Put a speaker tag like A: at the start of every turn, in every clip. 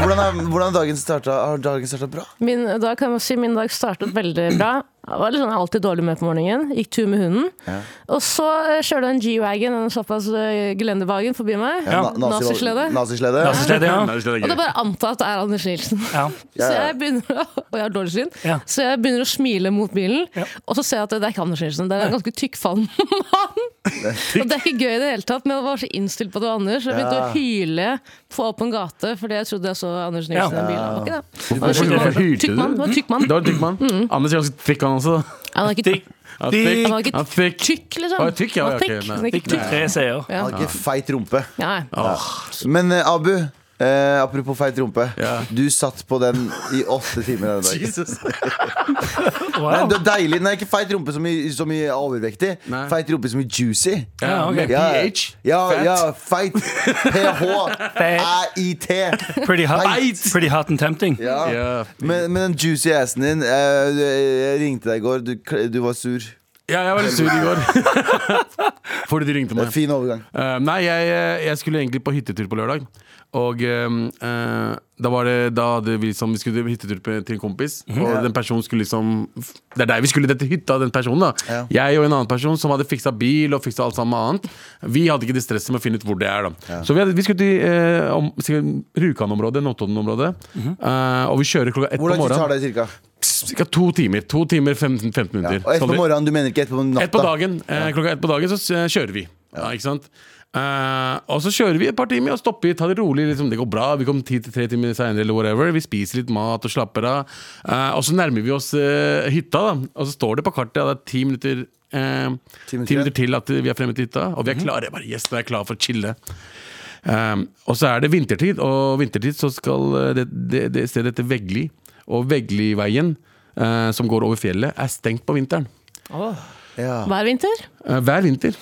A: Hvordan, er, hvordan dagen starta? Har dagen starta bra?
B: Min, da kan jeg si min dag startet veldig bra. Jeg var litt sånn alltid dårlig med på morgenen. Gikk tur med hunden. Og så eh, kjørte en G-wagon, en såpass eh, gelendervagen, forbi meg.
A: Na- nazi-
B: Nazislede.
A: Nazislede?
C: Nazislede, ja.
B: Og da bare anta at det er Anders Nilsen.
C: ja.
A: Ja,
B: Så
A: ja.
B: jeg begynner å, og jeg har dårlig syn,
C: Ja.
B: så jeg begynner å smile mot bilen.
C: Ja.
B: Og så ser jeg at det er ikke Anders Nilsen, det er en ganske tykkfallende mann. Og det er ikke gøy i det hele tatt, men jeg var så innstilt på at det var Anders. Så jeg begynte
A: Ja.
B: å hyle på åpen gate fordi jeg trodde jeg så Anders Nilsen i
C: Ja.
B: en bil. Det var ikke det.
D: Hvorfor-
B: Tykk
D: hvorfor
B: mann.
D: hylte
B: Tykk mann.
D: du?
B: Det var en tykk mann.
D: Det var en tykk mann. Anders er ganske tykk, han også.
B: Han er ikke
C: Tikk,
D: Han er
C: tikk,
B: Han var ikke
D: Han er tykk.
B: tykk, liksom.
D: Han er tykk, ja,
B: Han var
D: ok,
B: tykk,
D: nei.
B: men ikke
C: tikk, tikk.
B: tykk.
C: Tre seere.
B: Ja.
A: Han har ikke feit rumpe.
B: Ja.
A: Men eh, Abu, eh, apropos feit rumpe.
D: Ja.
A: Du satt på den i åtte timer denne dagen.
D: Jesus.
A: Nei,
C: Wow.
A: det er deilig. Nei, ikke feit rumpe som i, som i overvektig.
D: Nei.
A: Feit rumpe som i juicy.
C: Ja, ok.
D: Med pH.
A: Ja,
D: Fett.
A: ja, feit. P-h-e-i-t.
C: Pretty hot,
A: Feit.
C: pretty hot and tempting.
A: Ja.
D: Ja.
A: Men, men den juicy assen din eh, du- Jeg ringte deg i går. Du, kl- du var sur.
D: ja, jeg var litt sur i går. Fordi de ringte meg.
A: Fin overgang.
D: Eh, nei, jeg, eh, jeg skulle egentlig på hyttetur på lørdag. Og eh, eh, da var det Da hadde vi liksom Vi skulle på hyttetur på- til en kompis,
A: Mhm.
D: og den personen skulle liksom Det er der vi skulle dette hytta, den personen, da.
A: Ja.
D: Jeg og en annen person som hadde fiksa bil og fiksa alt sammen annet. Vi hadde ikke det stresset med å finne ut hvor det er, da. Så vi, hadde, vi skulle til eh, om, sikkert Rjukan-området, Notodden-området. Eh, og vi kjører klokka ett på
A: Mhm. Hvor lang tid tar det
D: morgenen.
A: cirka?
D: Ca. to timer. To timer 15, 15 minutter.
A: Og ett
D: Skal
A: på
D: vi-
A: morgenen, du mener ikke ett på natta?
D: ett på dagen. Eh, klokka ett på dagen så eh, kjører vi. Ja. ikke sant? Eh, og så kjører vi et par timer og stopper, tar det rolig. Liksom. Det går bra, Vi kommer ti til tre timer senere, eller whatever. Vi spiser litt mat og slapper av. Eh, og så nærmer vi oss eh, hytta, da. og så står det på kartet at det er ti minutter. eh,
A: Ti
D: ti
A: minutter
D: minutter, til at vi er fremme til hytta, og vi er klare. Jeg bare, yes, nå er jeg klar for å chille. Um, og så er det vintertid, og vintertid så skal eh, det, det, det stedet hete Veggli. Og Vegliveien, eh, som går over fjellet, er stengt på vinteren.
A: Ja.
B: Hver vinter?
D: Eh, hver vinter.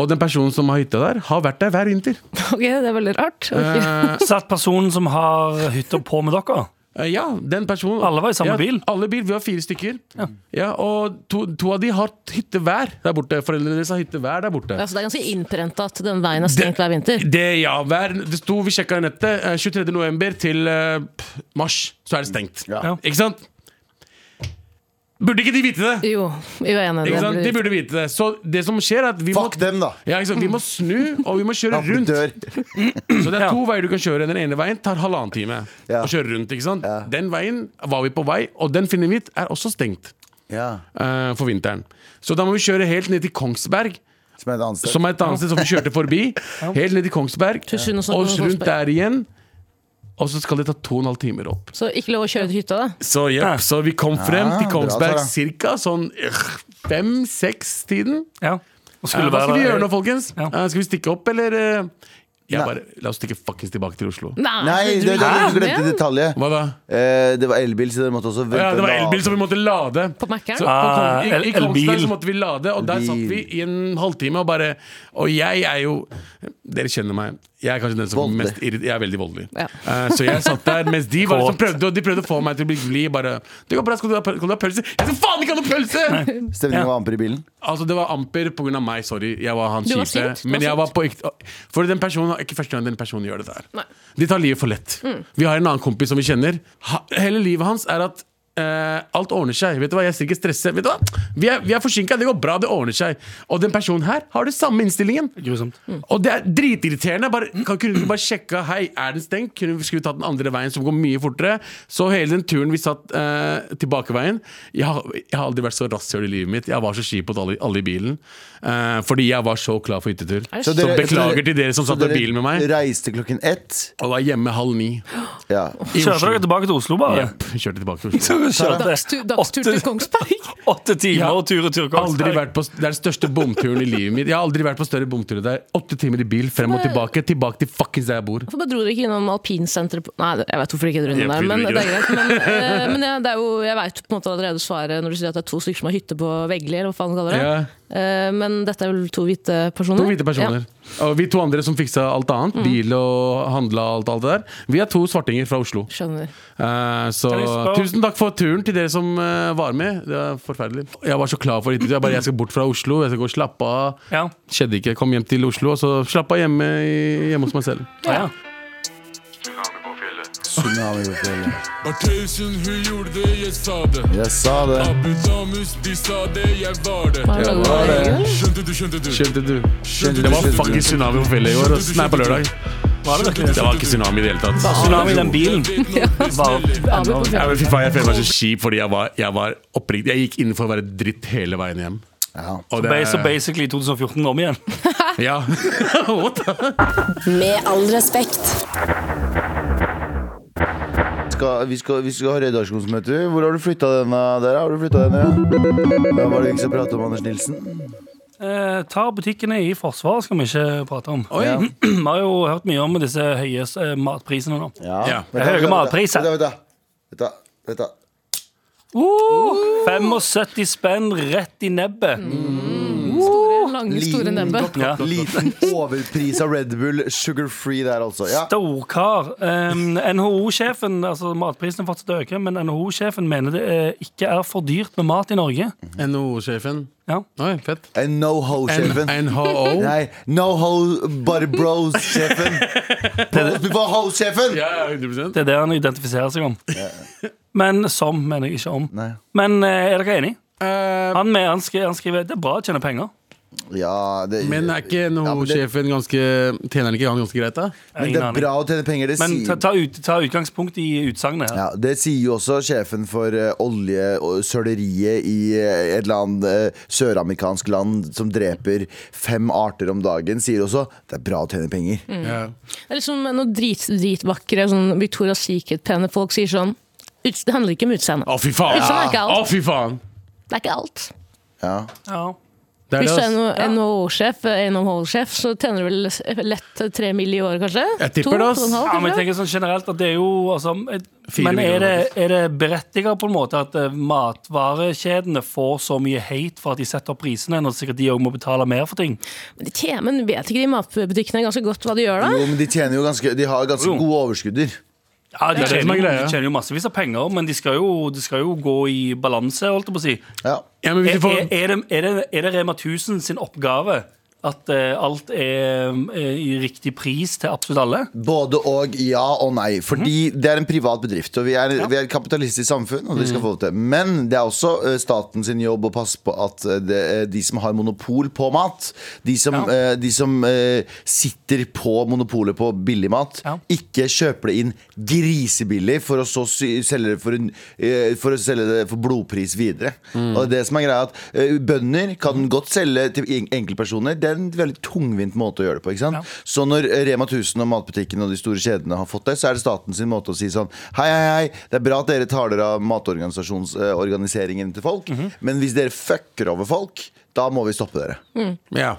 D: Og den personen som har hytte der, har vært der hver vinter.
B: Ok, det er veldig rart. Ok.
D: Eh,
C: Satt personen som har hytta på med dere?
D: eh, ja, den personen
C: Alle var i samme
D: ja,
C: bil.
D: Alle bil, Vi var fire stykker. Ja. Og to, to av de har hytte hver der borte. Foreldrene deres har hytte hver der borte.
B: Altså, det er ganske innprenta at den veien er stengt hver vinter.
D: Det, ja, hver, det sto, Vi sjekka i nettet. eh, 23. november til eh, pff, mars, så er det stengt.
A: Ja.
D: Ikke sant? Burde ikke de vite det?
B: Jo, jo jeg er enig. i det.
D: Ikke sant? De
B: Det blir-
D: burde vite det. Så det som skjer, er at vi
A: Fuck
D: må
A: dem, da!
D: ja, ikke sant? Vi må snu, og vi må kjøre
A: Dampe
D: rundt.
A: dør.
D: Så det er
C: Ja.
D: to veier du kan kjøre. Den ene veien tar halvannen time
A: Ja.
D: å kjøre rundt. ikke sant?
A: Ja.
D: Den veien var vi på vei, og den finner vi ut er også stengt
A: Ja.
D: eh, for vinteren. Så da må vi kjøre helt ned til Kongsberg,
A: Som er et annet sted.
D: som er et annet sted som vi kjørte forbi. Helt ned til Kongsberg,
B: Tusen og sånn,
D: og
B: Kongsberg.
D: rundt der igjen. Og så skal det ta to og en halv timer opp.
B: Så ikke lov å kjøre til hytta, da?
D: Så, jepp, så vi kom frem
A: Ah,
D: til
A: bra,
D: Kongsberg
A: Sara.
D: cirka sånn fem-seks-tiden.
C: Ja. Og
D: Eh, Hva skal vi gjøre nå, folkens?
C: Ja.
D: Eh, Skal vi stikke opp, eller? eh? Jeg
A: Nei.
D: bare, La oss stikke fuckings tilbake til Oslo.
A: Nei,
B: du
A: det, det,
B: er
A: du glemte
B: med.
A: detaljet.
D: Hva da?
A: Eh, det var elbil, så dere måtte også vente
D: Ja, det var
A: en annen-
D: elbil som vi måtte lade.
B: På Mac-eren?
D: Så
C: Ah,
D: Kong- I, I
C: el- elbil.
D: Kongsberg så måtte vi lade, og der
A: Elbil.
D: satt vi i en halvtime og bare Og jeg er jo Dere kjenner meg. Jeg er kanskje den som er
A: Voldelig.
D: mest irrit- Jeg er veldig voldelig.
B: Ja.
D: Eh, så jeg satt der mens de var,
C: Kåt.
D: så prøvde, de prøvde å få meg til å bli blid. Bare 'Det går bra, skal du ha, pøl- skal du ha pølse?' Jeg skal faen ikke ha noe pølse!
A: Stemningen var amper i bilen.
D: Altså, det var amper pga. meg. Sorry, jeg var han
B: Du var
D: kjipe.
B: sint, du var
D: Men jeg
B: sint.
D: var på ekte For den personen ikke første gang den personen gjør det der.
B: Nei. Mm.
D: De tar livet for lett. Vi har en annen kompis som vi kjenner. Ha, hele livet hans er at eh, alt ordner seg. Vet du hva, Jeg skal ikke stresse. Vet du hva? Vi er, vi er forsinka, det går bra, det ordner seg. Og den personen her har den samme innstillingen.
C: Grusomt.
D: Og det er dritirriterende. Bare, kan ikke du bare sjekke Hei, er den stengt? Kunne vi, skulle vi tatt den andre veien, som går mye fortere? Så hele den turen vi satt eh, tilbakeveien jeg, har- jeg har aldri vært så rasshøl i livet mitt. Jeg var så kjip mot alle, alle i bilen. Eh, fordi jeg var så klar for hyttetur.
B: det
D: Så,
B: sant?
D: beklager til dere som
A: så
D: satt i
A: dere
D: bilen med meg.
A: Reiste klokken ett.
D: Og var hjemme halv ni.
A: Ja.
D: I
C: Kjørte dere tilbake til Oslo, bare?
D: Jepp, kjørte
C: kjørte
D: tilbake.
B: Dagstur, dagstur til
C: åtte-
B: Kongsberg.
C: åtte
D: Jeg
C: timer
D: har
C: og tur og tur
D: Aldri vært på, det er den største bomturen i livet mitt. Jeg har aldri vært på større bomtur. Det er åtte timer i bil frem og tilbake. Tilbake til fuckings der jeg bor.
B: Hvorfor bare dro dere ikke innom alpinsenteret på- Nei, jeg vet hvorfor dere ikke dro innom der,
D: Jeg
B: men
D: bryr
B: det
D: meg
B: er greit. Men, eh, men ja, det er jo, jeg veit på en måte allerede svaret når du sier at det er to stykker som har hytte på Vegli, eller hva faen du kaller det.
D: Ja.
B: Eh, men dette er vel to hvite personer?
D: To hvite personer. Og vi to andre som fiksa alt annet, bil og handla og alt, alt det der, vi er to svartinger fra Oslo.
B: Ja, skjønner.
D: Eh, så
C: Kan jeg spørre-
D: tusen takk for turen til dere som eh, var med. Det var forferdelig. Jeg var så klar for det. Jeg bare jeg skal bort fra Oslo, jeg skal gå og slappe av.
C: Ja.
D: Skjedde ikke. Jeg kom hjem til Oslo, og så slappe av hjemme, i- hjemme hos meg selv.
C: Ja.
A: Tsunami på fjellet.
E: Barthausen, hun gjorde det, jeg sa det.
A: Jeg sa det.
E: Abu Damus, de sa det, jeg var det.
B: Hva er det du
A: var
B: lager?
A: det.
E: Skjønte du, skjønte du?
D: Skjønte du?
A: Skjønte du,
D: Det var
A: skjønte du.
D: fucking tsunami på fjellet i år. ass. Nei, på lørdag. Det var ikke tsunami i det hele tatt.
C: Tsunami i den bilen. Var,
B: Abu på
D: Ja,
B: fjellet.
D: men fy faen, Jeg føler meg så kjip fordi jeg var, jeg var oppriktig Jeg gikk inn for å være dritt hele veien hjem.
A: Ja.
D: Og det-
C: så basically 2014 om igjen.
D: Ja. What the-
F: Med all respekt.
A: Skal, vi, skal, vi skal ha redaksjonsmøte. Hvor har du flytta denne? Der har du flytta denne, ja. Hva var det vi ikke skal prate om, Anders Nilsen?
C: Eh, tar butikkene i forsvar, skal vi ikke prate om.
D: Oi.
A: Ja.
C: Vi har jo hørt mye om disse høye eh, matprisene nå.
D: Ja.
A: Vent da,
C: Høye
A: vent da,
C: matpriser.
A: Vent da, vent da. Vent da, vent da.
C: Uh, 75 spenn rett i nebbet.
B: Store, lange, store
A: Liten,
B: nebbet.
C: Ja.
A: liten overpris av Red Bull Sugar Free der, altså.
C: Mm.
A: Ja.
C: Storkar. Um, NHO-sjefen, altså matprisene fortsetter å øke, men NHO-sjefen mener det eh, ikke er for dyrt med mat i Norge.
D: NHO-sjefen.
C: Ja.
D: Oi, fett.
A: En no ho-sjefen.
D: NHO.
A: Nei, no ho bare bros-sjefen. Bros before ho-sjefen!
D: Ja, 100
C: Det er det han identifiserer seg om. Men som, mener jeg ikke om.
A: Nei.
C: Men eh, er dere enige?
D: Eh,
C: Han, med, han, skriver, han skriver det er bra å tjene penger.
A: Ja, det,
D: men er ikke NHO-sjefen ganske Tjener han ikke han ganske greit, da?
C: Jeg har
A: men det
C: ingen
A: er
C: aning.
A: bra å tjene penger. Det
C: Men ta,
A: sier
C: ta, ut, ta utgangspunkt i utsagnet her.
A: Ja, Det sier jo også sjefen for eh, olje- og søleriet i eh, et land, eh, søramerikansk land som dreper fem arter om dagen, sier også det er bra å tjene penger.
C: Mm.
B: Mm.
D: Ja.
B: Det er liksom noen drit, dritvakre sånn Victoria Secret-pene folk sier sånn "Uts- Det handler ikke om utseendet.
D: Å, fy faen!
B: Sånn er ikke alt.
D: Å, fy faen.
B: Det er ikke alt.
A: Ja.
C: Ja.
D: Det er det,
B: Hvis du
D: ass.
B: er NHO-sjef, NHO-sjef, så tjener du vel lett tre mill. i året, kanskje?
D: Jeg tipper det, ass.
B: to og en halv,
C: Ja, men jeg
B: kanskje?
C: tenker sånn generelt at det er jo altså, et,
D: Fire
C: Men er det,
D: millioner.
C: er det berettiget på en måte at eh, matvarekjedene får så mye hate for at de setter opp prisene, når sikkert de òg må betale mer for ting?
B: Men de tjener, men vet ikke de matbutikkene ganske godt hva de gjør,
A: Jo,
B: da?
A: men de tjener jo ganske De har ganske
C: Jo.
A: gode overskudder.
C: Ja, de,
D: det er det som
C: tjener,
D: er
C: jo-
D: greia.
C: de tjener jo massevis av penger, men de skal jo, de skal jo gå i balanse, holdt jeg på å si.
A: Ja.
D: Ja, men
B: Eh,
D: hvis
C: Er,
D: du får
C: er, er, det, er, det, er det Rema 1000 sin oppgave at eh, alt er, eh, i riktig pris til absolutt alle?
A: Både og ja og nei. Fordi
C: Mhm.
A: det er en privat bedrift, og vi er, vi er et kapitalistisk samfunn. Og det
C: Mhm.
A: skal få det til Men det er også eh, staten sin jobb å passe på at eh, det, eh, de som har monopol på mat, de som,
C: Ja.
A: eh, de som eh, sitter på monopolet på billig mat,
C: Ja.
A: ikke kjøper det inn grisebillig for å så sy selge det for, en, eh, for å selge det for blodpris videre. Og det som er greia er at eh, Bønder kan godt selge til en- enkeltpersoner. Det er en veldig tungvint måte å gjøre det på. ikke sant?
C: Ja.
A: Så når Rema 1000 og matbutikken og de store kjedene har fått det, så er det staten sin måte å si sånn Hei, hei, hei, det er bra at dere tar dere av matorganiseringen til folk, men hvis dere fucker over folk, da må vi stoppe dere.
D: Ja.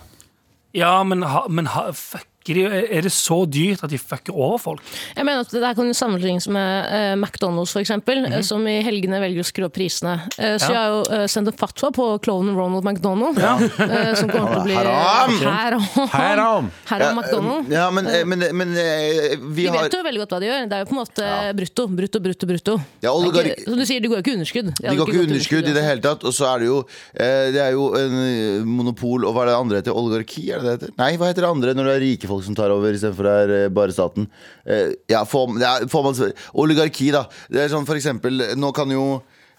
C: Ja, men, ha, men ha, fucker de, er det så dyrt at de fucker over folk?
B: Jeg mener at Det her kan jo sammenlignes med eh, McDonald's, f.eks., eksempel, eh, som i helgene velger å skru opp prisene. Eh,
C: Ja.
B: så jeg har jo eh, sendt en fatwa på klovnen Ronald McDonald, eh, som kommer til å bli
A: Haram!
B: Haram!
D: Haram!
B: Haram McDonald.
A: Ja, men, eh, men, men eh, vi
B: De
A: har
B: vet jo veldig godt hva de gjør. Det er jo på en måte brutto, brutto, brutto. brutto.
A: Ja,
B: Det er
A: oligar-
B: ikke- som du sier, de går jo ikke underskudd. De
A: De
B: hadde
A: går ikke underskudd i det
B: altså.
A: hele tatt. Og så er det jo eh, Det er jo en eh, monopol Og hva er det andre heter? Oligarki? Er det det heter? Nei, hva heter det andre når det er rike folk som tar over istedenfor det er eh, bare staten? Eh, ja, får, det er, får man Oligarki, da. Det er sånn for eksempel Nå kan jo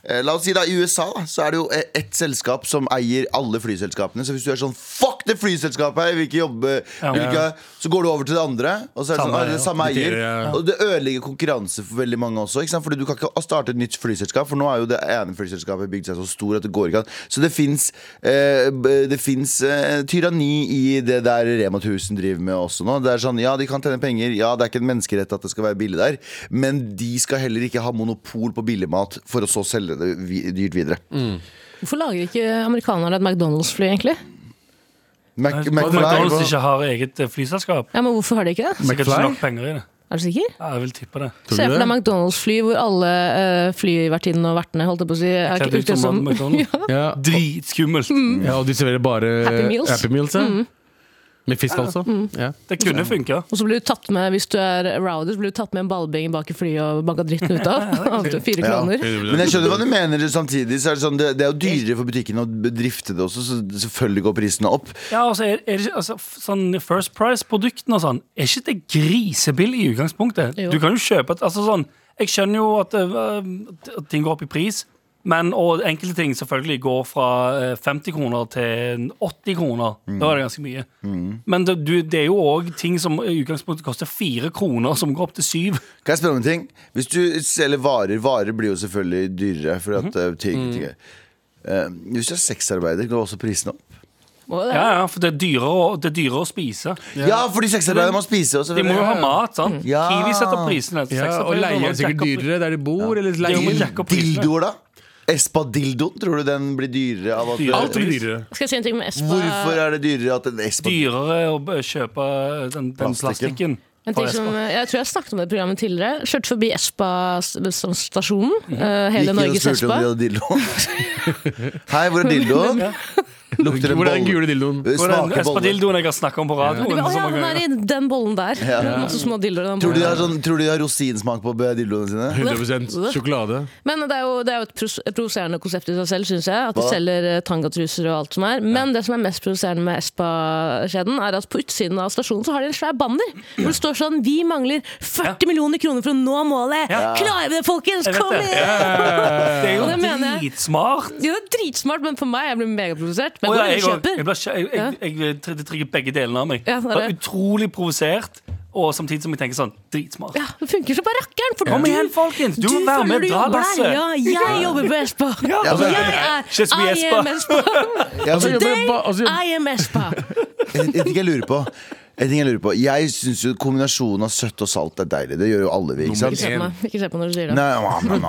A: eh, La oss si da, I USA da, så er det jo eh, ett selskap som eier alle flyselskapene. Så hvis du er sånn Fuck det flyselskapet her! Jeg vil ikke jobbe jeg vil ikke, Så går du over til det andre, og så er det
C: Samme
A: sånn, ah,
C: eier,
A: det er samme
D: ja.
A: eier.
D: Ja.
A: Og det ødelegger konkurranse for veldig mange også. Ikke sant? Fordi du kan ikke starte et nytt flyselskap, for nå er jo det ene flyselskapet bygd seg så stor at det går ikke an. Så det fins eh, b- Det finnes, eh, tyranni i det der Rema 1000 driver med også nå. Det er sånn, Ja, de kan tjene penger, ja, det er ikke en menneskerett at det skal være billig der, men de skal heller ikke ha monopol på billigmat for å så selge det vi- dyrt videre.
B: Hvorfor lager ikke amerikanerne et McDonald's-fly, egentlig?
A: Mac,
C: At
A: McFly
C: Altså, McDonald's
A: var-
C: ikke har eget eh, flyselskap.
B: Ja, men hvorfor har de ikke det?
C: Sikkert ikke
D: McFly?
C: nok penger i det.
B: Er du sikker?
C: Ja, jeg vil tippe det.
D: Tror
B: Se
D: du
B: for
D: det?
B: deg McDonald's-fly hvor alle uh, flyvertinnene og vertene holdt jeg på å si, er
C: Kledd ut som
B: kledd som Mm.
C: McDonald's.
D: Ja.
C: Dritskummelt.
D: ja, og de serverer bare
B: Happy Meals. Mm.
D: ja. Med fisk, altså. Ja.
C: Det kunne funka.
B: Og så blir du tatt med, hvis du er rowdy, så blir du tatt med en ballbing bak i flyet og banka dritten ut av. Av Fire
A: Ja.
B: kroner.
A: Men jeg skjønner hva du mener. Samtidig så er det sånn Det, det er jo dyrere for butikken å drifte det også, så selvfølgelig går prisene opp.
C: Ja, altså, er, er det ikke, altså, f- sånn First Price-produktene og sånn, er ikke det grisebillig i utgangspunktet?
B: Jo.
C: Du kan jo kjøpe et, altså sånn, Jeg skjønner jo at, eh, at ting går opp i pris, men, og enkelte ting selvfølgelig går fra eh, 50 kroner til 80 kroner. Da er det ganske mye. Men det, du, det er jo òg ting som i utgangspunktet koster fire kroner, som går opp til syv.
A: Kan jeg spørre om en ting? Hvis du selger varer Varer blir jo selvfølgelig dyrere. Fordi at eh, ting, ting er. Eh, hvis du er sexarbeider, går også prisene opp?
B: Må jo det.
C: Ja, ja, For det er dyrere, å- det er dyrere å spise.
A: Ja, fordi sexarbeidere må spise. Også,
C: De må jo ha mat, sant?
A: Ja.
C: Kiwi setter prisene.
D: Ja, og leie er sikkert dyrere der de bor. Eller
C: De må
D: leie.
C: jack opp prisene.
A: Dildoer, da? Espadildoen, tror du den blir dyrere av at
D: Alt blir dyrere.
B: Skal jeg si en ting med Espa?
A: Hvorfor er det dyrere at en Espa
C: dyrere å b- kjøpe eh, den, den
A: Plastikken.
C: plastikken.
B: En ting
C: fra
B: som,
C: Espa.
B: jeg tror jeg snakket om det i programmet tidligere. Kjørte forbi Espa-stasjonen. eh,
A: Gikk
B: hele
A: inn og
B: Norges
A: spurte om
B: Espa.
A: de hadde dildo? Hei, hvor er dildoen? Lukter det
D: Hvor er den
A: bolle?
D: gule dildoen?
C: Hvor er den
A: Smaker bolle.
C: Espadildoen jeg har snakka om på radioen?
B: Å
C: så
B: ja,
C: mange
B: den er
C: ganger.
B: i den bollen der.
A: Ja.
B: Masse små diller i den
A: Tror du de har,
B: bollen.
A: sånn, tror du de har rosinsmak på dildoene sine?
D: 100 sjokolade.
B: Men det er jo, det er jo et pros- et provoserende konsept i seg selv, syns jeg. At de
A: Hva?
B: selger eh, tangatruser og alt som er. Men det som er mest provoserende med Espa-kjeden, er at på utsiden av stasjonen så har de en svær banner hvor det står sånn Vi mangler 40 millioner kroner for å nå målet! Klarer vi det, folkens?
C: Jeg vet
B: Kom
C: det.
B: igjen!
C: Det er
B: Og det
C: jo
B: mener jeg.
C: dritsmart.
B: Ja, det er dritsmart, men for meg jeg blir megaprovosert. Men
C: Å, ja,
B: jeg,
C: jeg, også.
B: går og kjøper.
C: jeg, ble kjø- jeg, jeg, jeg, tr- det trigger begge delene av meg.
B: Ja, det er
C: Ble
B: det.
C: utrolig provosert, og samtidig som jeg tenker sånn dritsmart.
B: Ja, det funker som barrakkeren! For
C: Kom
B: du-
C: igjen, folkens! Du, må være
B: føler
C: med,
B: du
C: dra
B: jobber
C: lasset!
B: her. Ja, jeg jobber på Espa!
A: altså,
B: jeg
C: Just be
B: er I
C: Espa.
B: am Espa!
A: Ja, men-
B: Today,
D: ba- altså, jobber-
B: I am Espa!
A: En en ting jeg lurer på En ting Jeg lurer på Jeg synes jo kombinasjonen av søtt og salt er deilig Det gjør jo alle vi, ikke
B: Ikke
A: sant?
B: se på meg Ikke se på meg når du sier det.
A: Nei, ma, ma, ma, ma.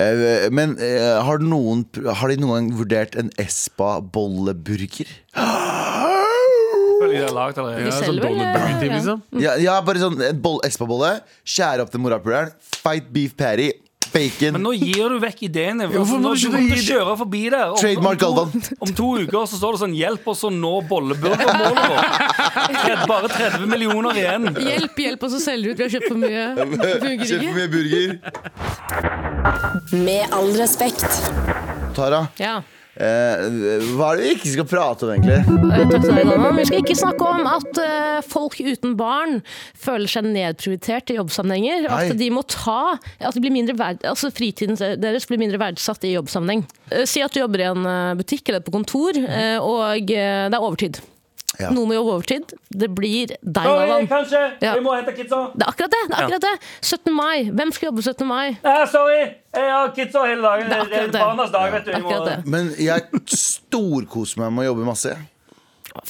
A: Eh, Men eh, har, noen, har de noen gang vurdert en Espa-bolleburger?
C: Selvfølgelig det er laget allerede.
D: Ja,
B: Vi
D: sånn
B: selger vel, eh,
D: Donald Burger
B: ja,
D: Team,
B: ja.
D: liksom.
A: Ja, ja, bare sånn en boll- Espa-bolle Skjære opp den morapuleren Fight beef patty Bacon
C: Men nå gir du vekk ideene.
D: Ja, hvorfor må
C: Når
D: du
C: du
D: ikke
C: måtte
D: gi-
C: kjøre forbi der om,
A: Trademark
C: om,
A: Galvan.
C: to, om to uker så står det sånn 'Hjelp oss å nå bolleburgermålet vårt'. Tred- Bare 30 millioner igjen.
B: Hjelp, hjelp oss å selge ut, vi har kjøpt for mye. Det
A: Kjøp
B: Funker
A: for
B: ikke.
A: mye burger
F: Med all respekt.
A: Tara
B: Ja.
A: eh, Hva er det vi ikke skal prate om egentlig?
B: Eh, Takk til deg, Dana. Vi skal ikke snakke om at eh, folk uten barn føler seg nedprioritert i jobbsammenhenger. og
A: Nei.
B: At de må ta At de blir mindre verd, altså fritiden deres blir mindre verdsatt i jobbsammenheng. Eh, Si at du jobber i en eh, butikk eller på kontor, eh, og eh, det er overtid.
A: Ja.
B: Noen må jobbe overtid. Det blir deg,
C: Sorry,
B: Navan.
C: kanskje.
B: Ja.
C: Jeg må hente kidsa.
B: Det er akkurat det! det, er akkurat det. 17. mai. Hvem skal jobbe 17. mai?
C: Nei, sorry. Jeg har kidsa hele dagen.
B: Det er akkurat det.
C: barnas dag, vet du. Jeg må-
B: Akkurat det.
A: Men jeg storkoser meg med å jobbe masse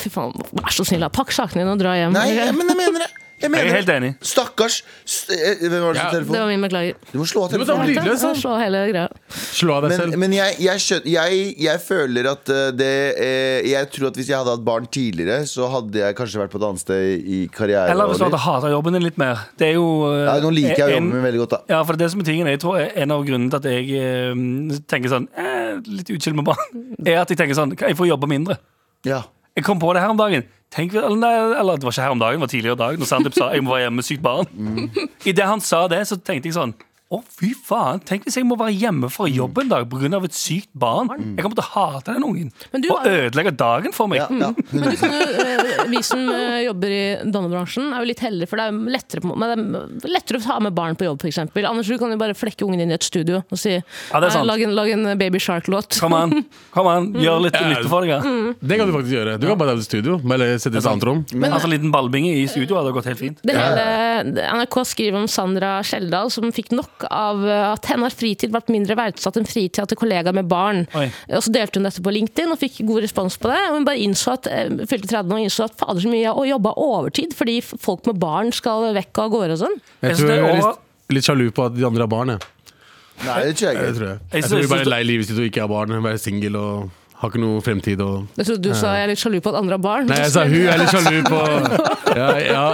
B: Fy faen, vær så snill, da. Pakk sakene dine og dra hjem.
A: Nei, jeg- men jeg mener det Jeg, mener
C: Jeg er helt
A: det.
C: enig.
A: Stakkars St- eh, Hvem var det som
D: Ja,
B: Det
A: telefon?
B: var min beklager.
A: Du må slå av
D: må ta
A: telefonen
D: den Lydløs, da.
B: Slå hele greia.
D: Slå av deg
A: men,
D: selv.
A: men jeg, jeg, skjøn, jeg, jeg føler at eh, det eh, Jeg tror at hvis jeg hadde hatt barn tidligere, så hadde jeg kanskje vært på et annet sted i karriere.
C: Eller hvis du
A: og
C: hadde
A: liv.
C: hata jobben din litt mer. Det er jo eh,
A: Nei, nå liker jeg
C: en-
A: jobben min veldig godt, da.
C: Ja, for det er det som er tingen Jeg tror en av grunnene til at jeg eh, tenker sånn eh, Litt utskilt med barn, er at jeg tenker sånn Jeg får jobbe mindre.
A: Ja.
C: Jeg kom på det her om dagen. Tenk, eller, nei, eller det var ikke her om dagen, det var tidligere i dag, når Sandeep sa jeg må være hjemme med sykt barn. I Idet han sa det, så tenkte jeg sånn Å Å, fy faen. Tenk hvis jeg må være hjemme fra jobb en dag pga. et sykt barn. Jeg kommer til å hate den ungen.
B: Men du
C: og
B: har jo-
C: ødelegge dagen for meg.
A: Ja, ja.
B: Men du kan jo, eh, vi som eh, jobber i dannebransjen er jo litt heldige, for det er, jo lettere på, men det er lettere å ta med barn på jobb, f.eks. Anders, du kan jo bare flekke ungen inn i et studio og si
C: det er sant.
B: «Nei, lag, en, lag en Baby Shark-låt.
C: Kom an, kom an, gjør litt nytte for deg. ja.
D: Det kan du faktisk gjøre. Du kan bare dra til studio eller sitte i et annet rom.
C: altså, en liten ballbinge i studio hadde gått helt fint.
B: Det hele, NRK skriver om Sandra Skjeldal som fikk nok av eh, at hennes fritid ble mindre verdsatt enn fritida til kollegaer med barn.
C: Oi.
B: Og Så delte hun dette på LinkedIn og fikk god respons på det. Og hun bare innså at, eh, fylte 30 og innså at fader så mye jeg jobba overtid fordi f- folk med barn skal vekk og av gårde og sånn.
C: Jeg
D: Jeg
C: synes
D: tror
C: det
D: jeg er
C: også-
D: litt, litt sjalu på at de andre har barn. Jeg,
A: Nei, det tror jeg
D: jeg
A: ikke.
D: tror jeg.
C: Jeg
D: Jeg tror
C: synes-
D: vi bare er lei livet sitt og ikke har barn. Være singel og har ikke noe fremtid. Og
B: Jeg trodde du sa jeg er litt sjalu på at andre har barn.
D: Nei, jeg sa hun er litt sjalu på Ja, ja.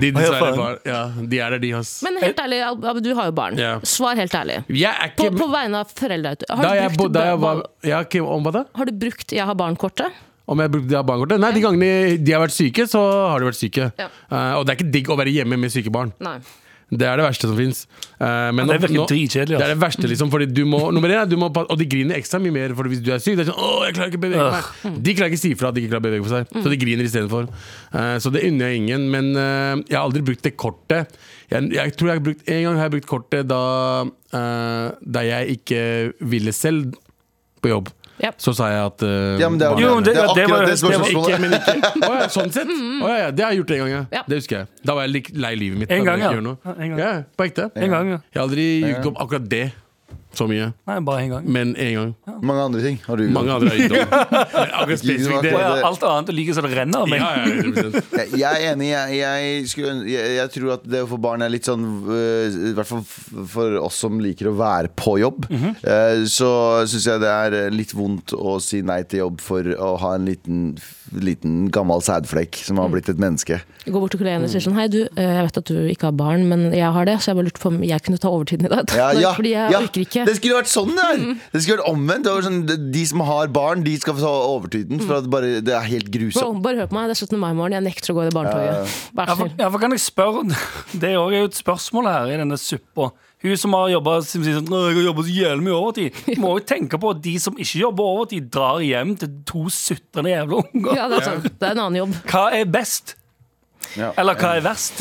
D: De dessverre bare Ja, de er der, de, ass.
B: Men helt ærlig, Ab- Abu, du har jo barn.
D: Ja.
B: Svar helt ærlig.
D: Jeg er
B: På,
D: ikke
B: på vegne av foreldre. vet du. Har
D: Da
B: du
D: jeg, bo,
B: brukt,
D: da jeg
B: ba-
D: var ja, ok, Om hva da?
B: har du brukt 'jeg har barn'-kortet?
D: Om jeg brukte det av barnekortet? Nei, de gangene de har vært syke, så har de vært syke.
B: Ja.
D: Eh, og det er ikke digg å være hjemme med syke barn.
B: Nei.
D: Det er det verste som Eh, fins.
C: Ja, det virker dritkjedelig,
D: Det
C: altså.
D: er det verste, liksom. Fordi du må, nummer én, er du må, pa- og de griner ekstra mye mer fordi hvis du er syk. Det er sånn, Åh, jeg klarer ikke å bevege meg. De klarer ikke å si fra at de ikke klarer å bevege seg, så de griner istedenfor. Uh, så det unner jeg ingen. Men eh, jeg har aldri brukt det kortet. Jeg, jeg tror jeg har brukt, En gang har jeg brukt kortet da, eh, da jeg ikke ville selv på jobb.
B: Ja.
D: Så sa jeg at eh,
A: Ja, men det er,
D: barna-
A: jo, det, er
C: det- det var-
A: akkurat det
C: det var
D: ikke,
A: spørsmålet.
D: men ikke. Å ja, sånn sett? Å ja, ja, det har jeg gjort en gang, ja.
B: Ja.
D: Det husker jeg. Da var jeg lik- lei livet mitt.
C: En
D: da ville
C: gang,
D: jeg
C: ja.
D: ikke gjøre noe.
C: Ja, en gang.
D: Ja, på ekte.
C: En gang, ja.
D: Jeg har aldri gjort om akkurat det så mye,
C: Nei, bare en gang.
D: men en gang.
A: Mange andre ting har du
D: Mange andre har gjort om. Men Akkurat spesifikt det.
C: Og
D: Ja,
C: jeg, alt annet liker så det renner av meg.
D: ja, 100%.
A: jeg, jeg er enig. Jeg, jeg, skulle, ønske- jeg, jeg tror at det å få barn er litt sånn øh, I hvert fall f- for oss som liker å være på jobb.
B: Mhm.
A: eh, så syns jeg det er litt vondt å si nei til jobb for å ha en liten, liten gammel sædflekk som
B: Mm.
A: har blitt et menneske.
B: Jeg går bort til kollegaen og sier sånn Hei, du, eh, jeg vet at du ikke har barn, men jeg har det, så jeg bare lurte på om jeg kunne ta overtiden i dag.
A: Ja, ja,
B: Fordi jeg
A: ja.
B: orker ikke. Mm.
A: Det skulle vært sånn der! Det skulle vært omvendt. Det var sånn, de- de som har barn, de skal få ta overtiden.
B: Mm.
A: For at bare, det er helt
B: Bro,
A: grusomt.
B: bare hør på meg, det er 17. mai-morgen, jeg nekter å gå i det barnetoget. Vær
C: Ja,
B: så
C: for,
B: snill.
C: ja, for kan jeg spørre Det er jo også et spørsmål her i denne suppa. Hun som har jobba som sier sånn, «Åh, jeg har jobbet så jævlig mye overtid, må jo tenke på at de som ikke jobber overtid, drar hjem til to sutrende jævla unger.
B: Ja, det er sant. Det er en annen jobb.
C: Hva er best?
A: Ja.
C: Eller hva er verst?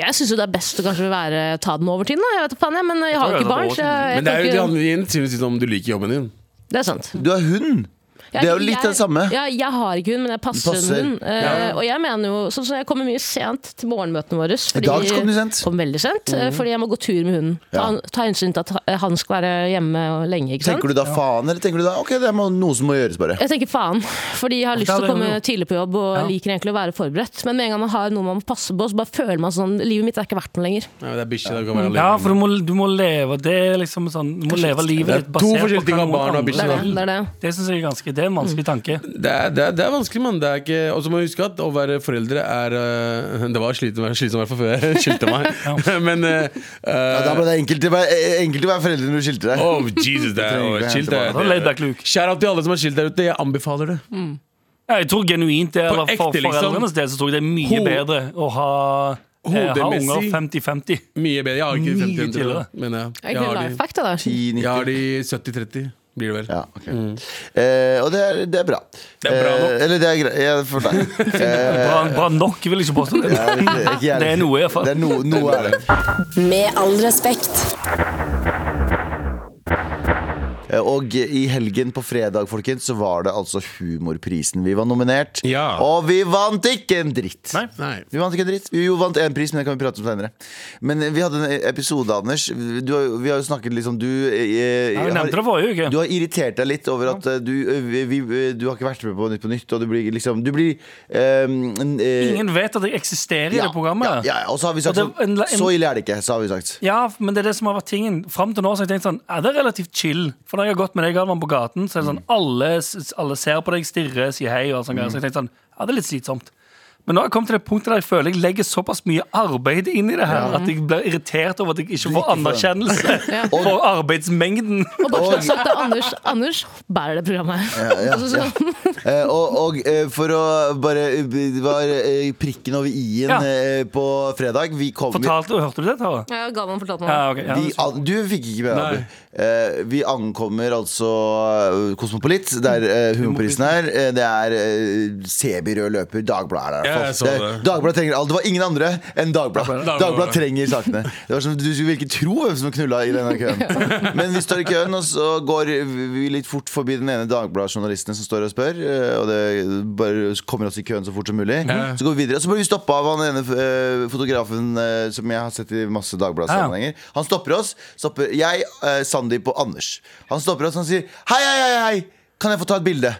B: Jeg syns jo det er best å kanskje være, ta den overtiden, da. Jeg vet da faen, jeg, men jeg har jo
C: tror jeg
B: ikke barn,
C: tar
B: så jeg, jeg
D: Men det er jo det
B: kan ikke
D: handler igjen til syvende og sist om du liker jobben din.
B: Det er sant.
A: Du er hund!
B: Jeg-
A: Det er jo litt
B: jeg-
A: det samme.
B: Ja, jeg har ikke hund, men jeg passer,
A: Du passer.
B: en hund. Eh, Og jeg mener jo, sånn som jeg kommer mye sent til morgenmøtene våre fordi,
A: I dag kom du sent. Mm.
B: Kom veldig sent, eh, fordi jeg må gå tur med hunden. Ta, ta hensyn til at han skal være hjemme og lenge, ikke sant.
A: Tenker du da faen, eller tenker du da ok, det er noe som må gjøres, bare?
B: Jeg tenker faen, fordi jeg har lyst
C: Ja,
B: til
C: det
B: å
C: kan
B: komme
C: du jo.
B: tidlig på jobb og liker egentlig å være forberedt. Men med en gang man har noe man må passe på, så bare føler man sånn Livet mitt er ikke verdt noe lenger.
D: Ja, det er bikkje, det kan være
C: Ja,
D: alene.
C: for du må, du må leve Det er liksom sånn Du må leve
D: Det er
C: livet ditt
D: to
C: basert på
D: forskjellige ting
C: hva
D: av barn
C: noen
D: og
C: andre
D: bikkjer,
B: Det er
D: da.
B: det.
C: vil.
B: det, er det.
C: Det synes jeg er ganske Det er en vanskelig tanke.
D: Det er, det, er, det er vanskelig, mann. Det er ikke Og så må jeg huske at å være foreldre er øh, Det var slitsomt slitsomt i hvert fall før jeg skilte meg. Men øh,
A: Ja, da ble det enkelt å være, eh, enkelt å være foreldre når du skilte deg.
D: Oh, Jesus, det er
A: Trenger ikke
D: oh,
A: å
D: chill.
A: hente
D: Det,
A: barna.
C: Da laid back
D: er-
C: Luke.
D: Shout out til alle som har chill der ute. Jeg anbefaler det.
C: Ja, Jeg tror genuint det, eller
D: ekte,
C: for
D: liksom.
C: foreldrenes del, så tror jeg det er mye
D: Ho-
C: bedre å ha, eh, ha
D: Hodemessig.
C: unger 50-50.
D: Mye bedre. Jeg har ikke
C: Mye
D: 50
C: til
D: til
C: det.
D: men jeg,
B: Er
D: jeg,
B: ikke det
D: har
B: life
D: de,
B: fact, da? da?
A: 10, 90.
D: jeg har de 70-30, blir det vel.
A: Ja, ok
C: Mm.
A: eh, Og det er, det er bra.
D: Det er bra nok.
A: Eh, eller det er greit ja, for deg. Eh,
C: Bra, bra nok, vil jeg ikke påstå.
A: jeg vet ikke, ikke jeg-
C: Det er noe, i hvert fall.
A: Det er no, noe er det.
F: Med all respekt.
A: Eh, Og i helgen på fredag, folkens, så var det altså Humorprisen vi var nominert.
D: Ja.
A: Og vi vant ikke en dritt!
C: Nei.
D: Nei.
A: Vi vant ikke en dritt. Vi jo vant én pris, men det kan vi prate om senere. Men eh, vi hadde en episode, Anders. Du, har jo- vi har jo snakket litt om du eh,
C: Ja, vi
A: har-
C: nevnte det forrige uke.
A: Du har irritert deg litt over at eh, du, eh, vi, vi- du har ikke vært med på Nytt på Nytt, og du blir liksom Du blir ehm, eh,
C: Ingen vet at jeg eksisterer i det programmet.
A: Ja, ja, og så har vi sagt
C: Og det- en-
A: sånn
C: en-
A: Så ille er det ikke, så har vi sagt.
C: Ja, men det er det som har vært tingen. Fram til nå så har jeg tenkt sånn, er det er relativt chill. For når jeg har gått med deg Galvan, på gaten, så er det sånn, alle, s- alle ser på deg, stirrer, sier hei og alt sånt. greier. Så jeg tenkte sånn, ja, det er litt slitsomt. Men nå har jeg kommet til det punktet der jeg føler jeg legger såpass mye arbeid inn i det her, at jeg blir irritert over at jeg ikke får anerkjennelse for arbeidsmengden.
B: Og bortsett fra at Anders, Anders bærer det programmet her.
A: ja,
B: Altså, så-
A: Eh, og og eh, for å bare Det var eh, prikken over i-en
C: Ja.
A: eh, på fredag. Vi kom
C: Fortalte, hørte du det, Tara?
B: Ja, Galvan fortalte meg
C: Ja,
B: det.
C: ok. Ja,
A: vi, an- du fikk ikke med deg
D: Nei.
A: Eh, Vi ankommer altså eh, Kosmopolit, der eh,
D: Mm.
A: humorprisen er. Eh, det er eh, CB-rød løper. Dagbladet er der.
D: Ja, jeg
A: altså.
D: så det.
A: Dagbladet trenger alt. Det var ingen andre enn Dagbladet.
D: Dagbladet.
A: Dagbladet trenger sakene. Det var som, du ville ikke tro hvem som knulla i denne køen. Men vi står i køen, og så går vi litt fort forbi den ene Dagbladet-journalisten som står og spør. eh, Og det bare kommer oss i køen så fort som mulig.
D: Ja.
A: Så går vi videre. Og så blir vi stoppa av han ene eh, fotografen eh, som jeg har sett i masse Dagbladet-sammenhenger. Han stopper oss. Stopper jeg, eh, Sandeep og Anders. Han stopper oss og han sier hei, hei, hei, hei, kan jeg få ta et bilde?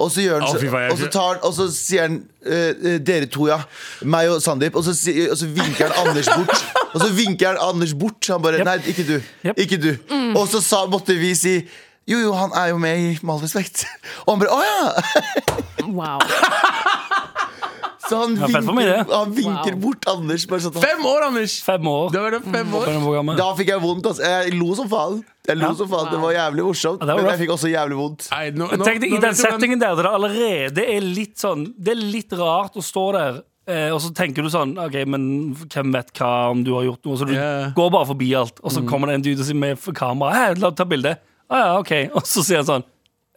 A: Og så, gjør han,
D: Å, fy
A: så,
D: faen, jeg-
A: og så, tar han, og så sier han eh, eh, dere to, ja. Meg og Sandeep. Og, så sier- og så vinker han Anders bort. Og så vinker han Anders bort. Han bare Nei, ikke du.
C: Jep.
A: Ikke du. Og så sa, måtte vi si jo, jo, han er jo med i Med all respekt. Og han bare Å ja!
B: Wow.
A: Så han
C: Ja, fett for meg,
A: vinker,
C: det.
A: han vinker
B: Wow.
A: bort Anders. Bare sånn at han
D: Fem år, Anders!
C: Fem år.
D: Du har vært der fem år.
C: på denne programmet.
A: Da fikk jeg vondt, altså. Jeg lo som faen. Jeg lo
C: Ja.
A: som faen. Det var jævlig morsomt,
C: Ja, det var
A: men jeg
C: rough.
A: fikk også jævlig vondt.
D: Nei, nå, nå,
C: Men Tenk deg, I
D: nå
C: den
D: vet du hvordan-
C: settingen der, der det allerede er litt sånn Det er litt rart å stå der, eh, og så tenker du sånn OK, men hvem vet hva om du har gjort noe? Så du
D: Ja. Mm.
C: går bare forbi alt, og så kommer det en dude og sier med kamera Hei, la ta bilde. Å ja, OK. Og så sier han sånn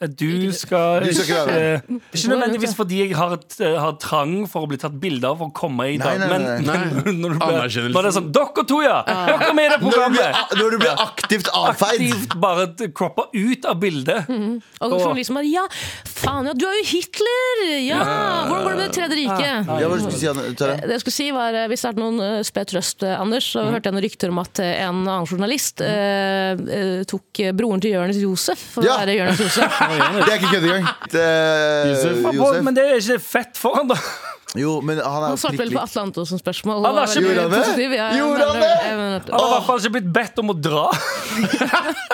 C: «Eh, Du skal
A: Du skal ikke
C: ikke
A: være med.»
C: Ikke nødvendigvis fordi jeg har, et, eh, har trang for å bli tatt bilde av for å komme i
A: Nei,
C: dag,
A: nei,
C: men
A: nei, Ah.
D: nei.
C: men når, du blir,
D: Anerkjennelse.
C: når det er sånn Dere to, ja! Dere er med i
A: Når
C: det
A: du blir,
C: programmet!
A: når du blir aktivt avfeid
C: Aktivt bare t- croppa ut av bildet.
B: Og journalisten liksom bare Ja, faen, ja, du er jo Hitler! Ja! Hvordan går det med Det tredje riket?
A: Ja, hva skulle du si, Anne? Tara?
B: Det jeg skulle si var, eh, Hvis det er noen eh, sped trøst, eh, Anders, så hørte jeg noen rykter om at eh, en annen journalist eh, eh, tok eh, broren til Jonis Josef for
A: Ja.
B: å være Jonis Josef.
A: Det er ikke kødd engang.
D: Josef.
A: Det- Eh, Josef.
C: Men det er ikke fett for han, da.
A: Jo, men han er
B: Han
A: jo
B: svarte
A: prikk
B: vel på
A: lik.
B: Atle Antonsen-spørsmål.
C: Han var ikke
A: Gjorde han det? Gjorde han det?
C: Han har i hvert fall ikke blitt bedt om å dra.
A: Nei,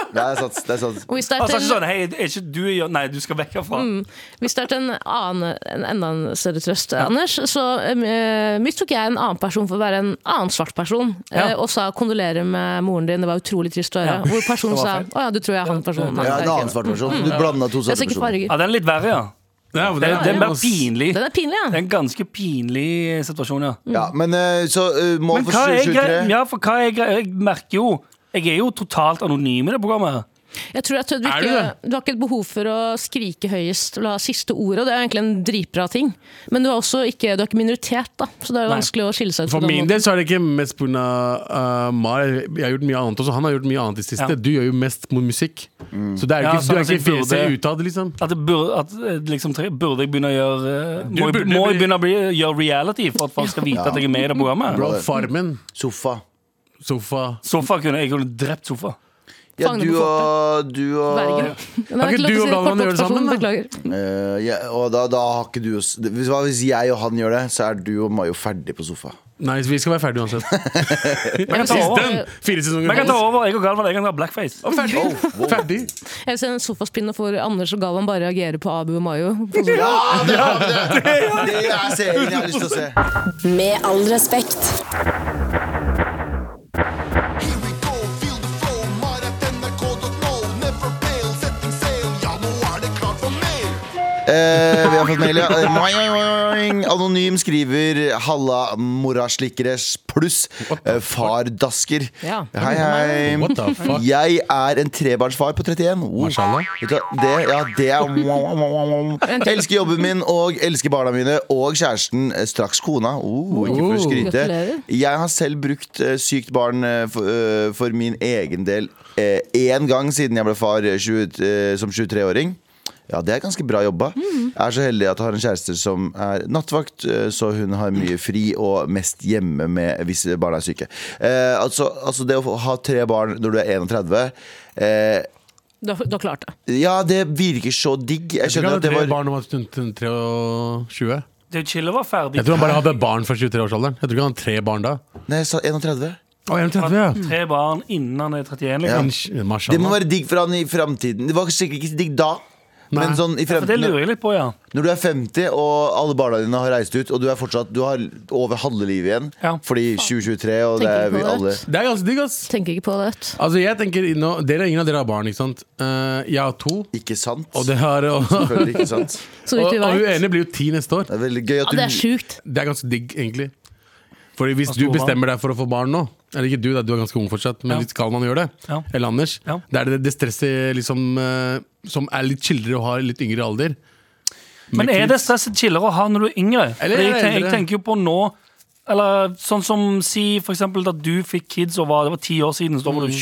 A: Det er sant. Det er sant.
B: Og hvis det er
C: Han sa
B: til-
C: ikke sånn Hei, er ikke du i Nei, du skal vekk herfra.
B: Mm. Hvis det er til en, annen, en enda en større trøst, Anders, så eh, mistok jeg en annen person for å være en annen svart person, eh,
C: Ja.
B: og sa 'kondolerer med moren din', det var utrolig trist å
C: Ja.
B: høre. Hvor personen
C: Det
B: sa
C: var feil.
B: 'å ja, du tror jeg er han personen'. Nei,
A: Ja,
B: det
A: en
B: er
A: annen
B: ikke. Mm.
A: svart versjon. Du blanda to
B: Jeg
A: svarte
B: ser ikke
A: personer.
B: farger.
C: Ja, den er litt verre, ja.
D: Ja, men
C: Det, det er mer
D: ass.
C: pinlig.
B: Den er pinlig, ja.
C: Det er en ganske pinlig situasjon, ja.
A: Ja, men eh, så eh, mål
C: Men
A: for
C: hva er greia?
A: 2023
C: Ja, for hva er greia? Jeg merker jo Jeg er jo totalt anonym i det programmet. her.
B: Jeg tror at du,
D: Er du
B: ikke,
D: det?
B: du har ikke et behov for å skrike høyest eller ha siste ordet, og det er jo egentlig en dritbra ting. Men du er også ikke, du er ikke minoritet, da, så det er jo
C: Nei.
B: vanskelig å skille seg ut.
D: For
B: på den
D: min
B: måten.
D: del så er det ikke mest pga. Uh, Mar. Jeg har gjort mye annet også. Han har gjort mye annet i det siste.
C: Ja.
D: Du gjør jo mest mot musikk. Så det er jo
C: Ja,
D: ikke,
C: så
D: du er
C: altså,
D: ikke
C: jeg burde-
D: fjeset utad, liksom.
C: At, det burde, at eh, liksom, tre- burde jeg begynne å gjøre eh,
D: Du
C: Må jeg,
D: burde
C: må jeg
D: bli-
C: begynne å bli, gjøre reality for at folk skal vite at jeg er med i det programmet?
D: Bro, Farmen,
A: Sofa.
D: sofa
C: Sofa kunne Jeg kunne drept sofa.
A: Ja,
B: Fangene
A: du
B: på
A: og, du og
B: Vergen. Men
D: Kan
B: jeg
D: ikke
B: lov til å si
D: du og
B: det.
D: Galvan
B: Kort
D: gjøre det sammen,
B: observasjon,
D: da?
B: Beklager.
A: Eh, ja, Og da, da har ikke du s- Hvis hva hvis jeg og han gjør det, så er du og Mayo ferdig på sofa.
D: Nei, vi skal være ferdige uansett.
C: Jeg kan ta over.
D: Den, fire sesonger
C: Jeg kan ta over. Jeg og Galvan jeg kan ta blackface.
D: Og ferdig.
A: Oh, wow.
D: ferdig.
B: Jeg vil se en sofaspinne for Anders og Galvan bare reagerer på Abu og Mayo. På sånn-
A: Ja, det, det, det er serien jeg har lyst til å se.
F: Med all respekt.
A: Eh, vi har fått mail, ja. Eh, moing, moing, moing. Anonym skriver 'Halla moraslikkeres pluss eh, fardasker'.
B: Ja.
A: Hei, hei.
D: What the fuck?
A: Jeg er en trebarnsfar på 31. Oh.
D: Mashallah.
A: Vet du hva, Det, ja, det er Elsker jobben min og elsker barna mine og kjæresten, eh, straks kona. Oh, ikke for å skryte.
B: Gratulerer.
A: Jeg har selv brukt eh, sykt barn eh, for, eh, for min egen del eh, én gang siden jeg ble far eh, 20, eh, som 23-åring. Ja, det er ganske bra jobba. Jeg er så heldig at jeg har en kjæreste som er nattvakt, eh, så hun har mye fri og mest hjemme med hvis barna er syke. Eh, altså, altså det å få- ha tre barn når du er 31 eh,
B: Du har, du har klart det.
A: ja, det virker så digg. Jeg
D: Du kan
A: skjønner
D: ha
A: at det
D: tre
A: var
D: barn når man er 23.
C: Det er jo chill å være ferdig.
D: Jeg tror han bare hadde barn fra 23-årsalderen. Jeg tror ikke han hadde tre barn da.
A: Nei, jeg sa 31.
D: Å, jeg er 30, ja.
C: Tre barn innen han er 31. Liksom.
D: Insj- eh, Mashallah.
A: Det må være digg for han i framtiden. Det var sikkert ikke digg da. Men sånn i
C: For det
A: fremtiden
C: lurer jeg litt på, ja.
A: Når du er 50 og alle barna dine har reist ut, og du er fortsatt Du har over halve livet igjen
C: Ja.
A: fordi 2023, og det
B: Tenker
A: er
B: ikke
A: vi
B: på
A: alle
B: det.
D: Det er ganske digg, ass.
B: Tenker ikke på det. vet du.
D: Altså, jeg tenker nå, dere, Ingen av dere har barn, ikke sant? Eh, jeg har to.
A: Ikke sant?
D: Og det har og, og,
A: Selvfølgelig ikke sant.
B: Så vidt
D: og
B: vi
D: hun
B: vet.
D: ene blir jo ti neste år.
A: Det er veldig gøy at
B: Ja,
A: du
B: det er sjukt.
D: Det er ganske digg, egentlig. Fordi hvis
C: At
D: du
C: to barn?
D: bestemmer deg for å få barn nå Eller ikke du, da, du er ganske ung fortsatt, men
C: Ja.
D: skal man gjøre det?
C: Ja.
D: Eller Anders?
C: Ja.
D: Det er det, det stresset liksom, eh, som er litt chillere å ha i litt yngre alder.
C: Men er det stresset chillere å ha når du er yngre?
D: Eller
C: Fordi jeg,
D: eldre.
C: tenker, jeg tenker jo på nå Eller sånn som si for eksempel at du fikk kids og var, det var ti år siden, så da var du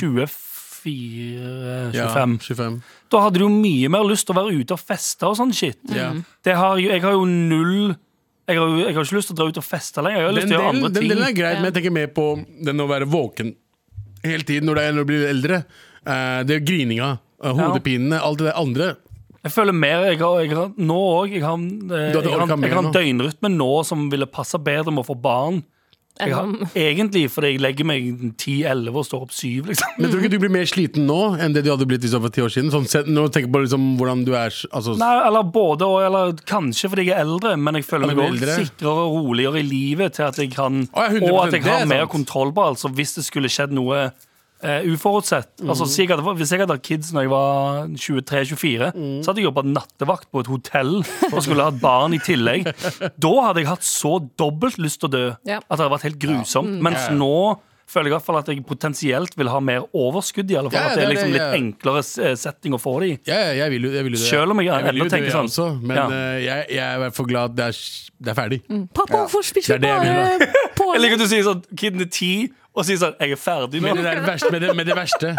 C: 24
D: Mm. Ja,
C: 25.
D: 25.
C: Da hadde du jo mye mer lyst til å være ute og feste og sånn shit.
D: Ja.
C: Det har jo, jeg har jo null jeg har, jo- jeg har ikke lyst til å dra ut og feste lenger. Jeg har lyst
D: Den,
C: til å gjøre
D: delen,
C: andre
D: den
C: ting.
D: delen er greit, men jeg tenker mer på den å være våken hele tiden når det er- når du blir eldre. Eh, det er grininga, eh, hodepinene, alt det der andre.
C: Jeg føler mer jeg har, jeg har nå òg. Jeg har, eh,
D: Du hadde
C: jeg har,
D: orket mer
C: jeg har en
D: nå.
C: døgnrytme nå som ville passe bedre med å få barn. Jeg har,
B: Enn om-
C: egentlig fordi jeg legger meg 10-11 og står opp 7, liksom.
D: Men tror du ikke du blir mer sliten nå enn det du hadde blitt liksom, for ti år siden? Sånn, sett- når du tenker på liksom, hvordan du er altså,
C: Nei, eller både og, eller kanskje fordi jeg er eldre, men jeg føler
D: Ja,
C: meg
D: du er
C: også
D: eldre.
C: sikrere og roligere i livet til at jeg kan
D: Å, ja, 100%,
C: Og at jeg
D: det er
C: har mer
D: sant.
C: kontroll på alt. Så hvis det skulle skjedd noe eh, uforutsett
D: Mm.
C: altså, si jeg hadde, Hvis jeg hadde hatt kids når jeg var 23-24,
D: Mm.
C: så hadde jeg jobba nattevakt på et hotell og skulle hatt barn i tillegg. Da hadde jeg hatt så dobbelt lyst til å dø
B: Ja.
C: at det hadde vært helt grusomt. Mens
D: Ja, ja.
C: nå føler jeg i hvert fall at jeg potensielt vil ha mer overskudd, i alle fall.
D: Ja,
C: at det er
D: det er
C: liksom
D: det,
C: litt
D: ja.
C: enklere eh, setting å få det i.
D: Ja, ja, jeg vil jo, jeg vil jo det.
C: Selv om jeg er
D: vil jo
C: eldre,
D: det,
C: tenker
D: jeg
C: sånn.
D: Også, men
C: Ja.
D: eh, jeg, jeg er i hvert fall glad det er, det er ferdig.
B: Pappa, hvorfor spiser
D: Det
B: vi
D: er det
B: bare
D: jeg
C: Jeg liker
B: pålegg?
C: at du sier sånn Kiden er ti og sier sånn Jeg er ferdig nå.
D: Men det, der verste, med det, med det verste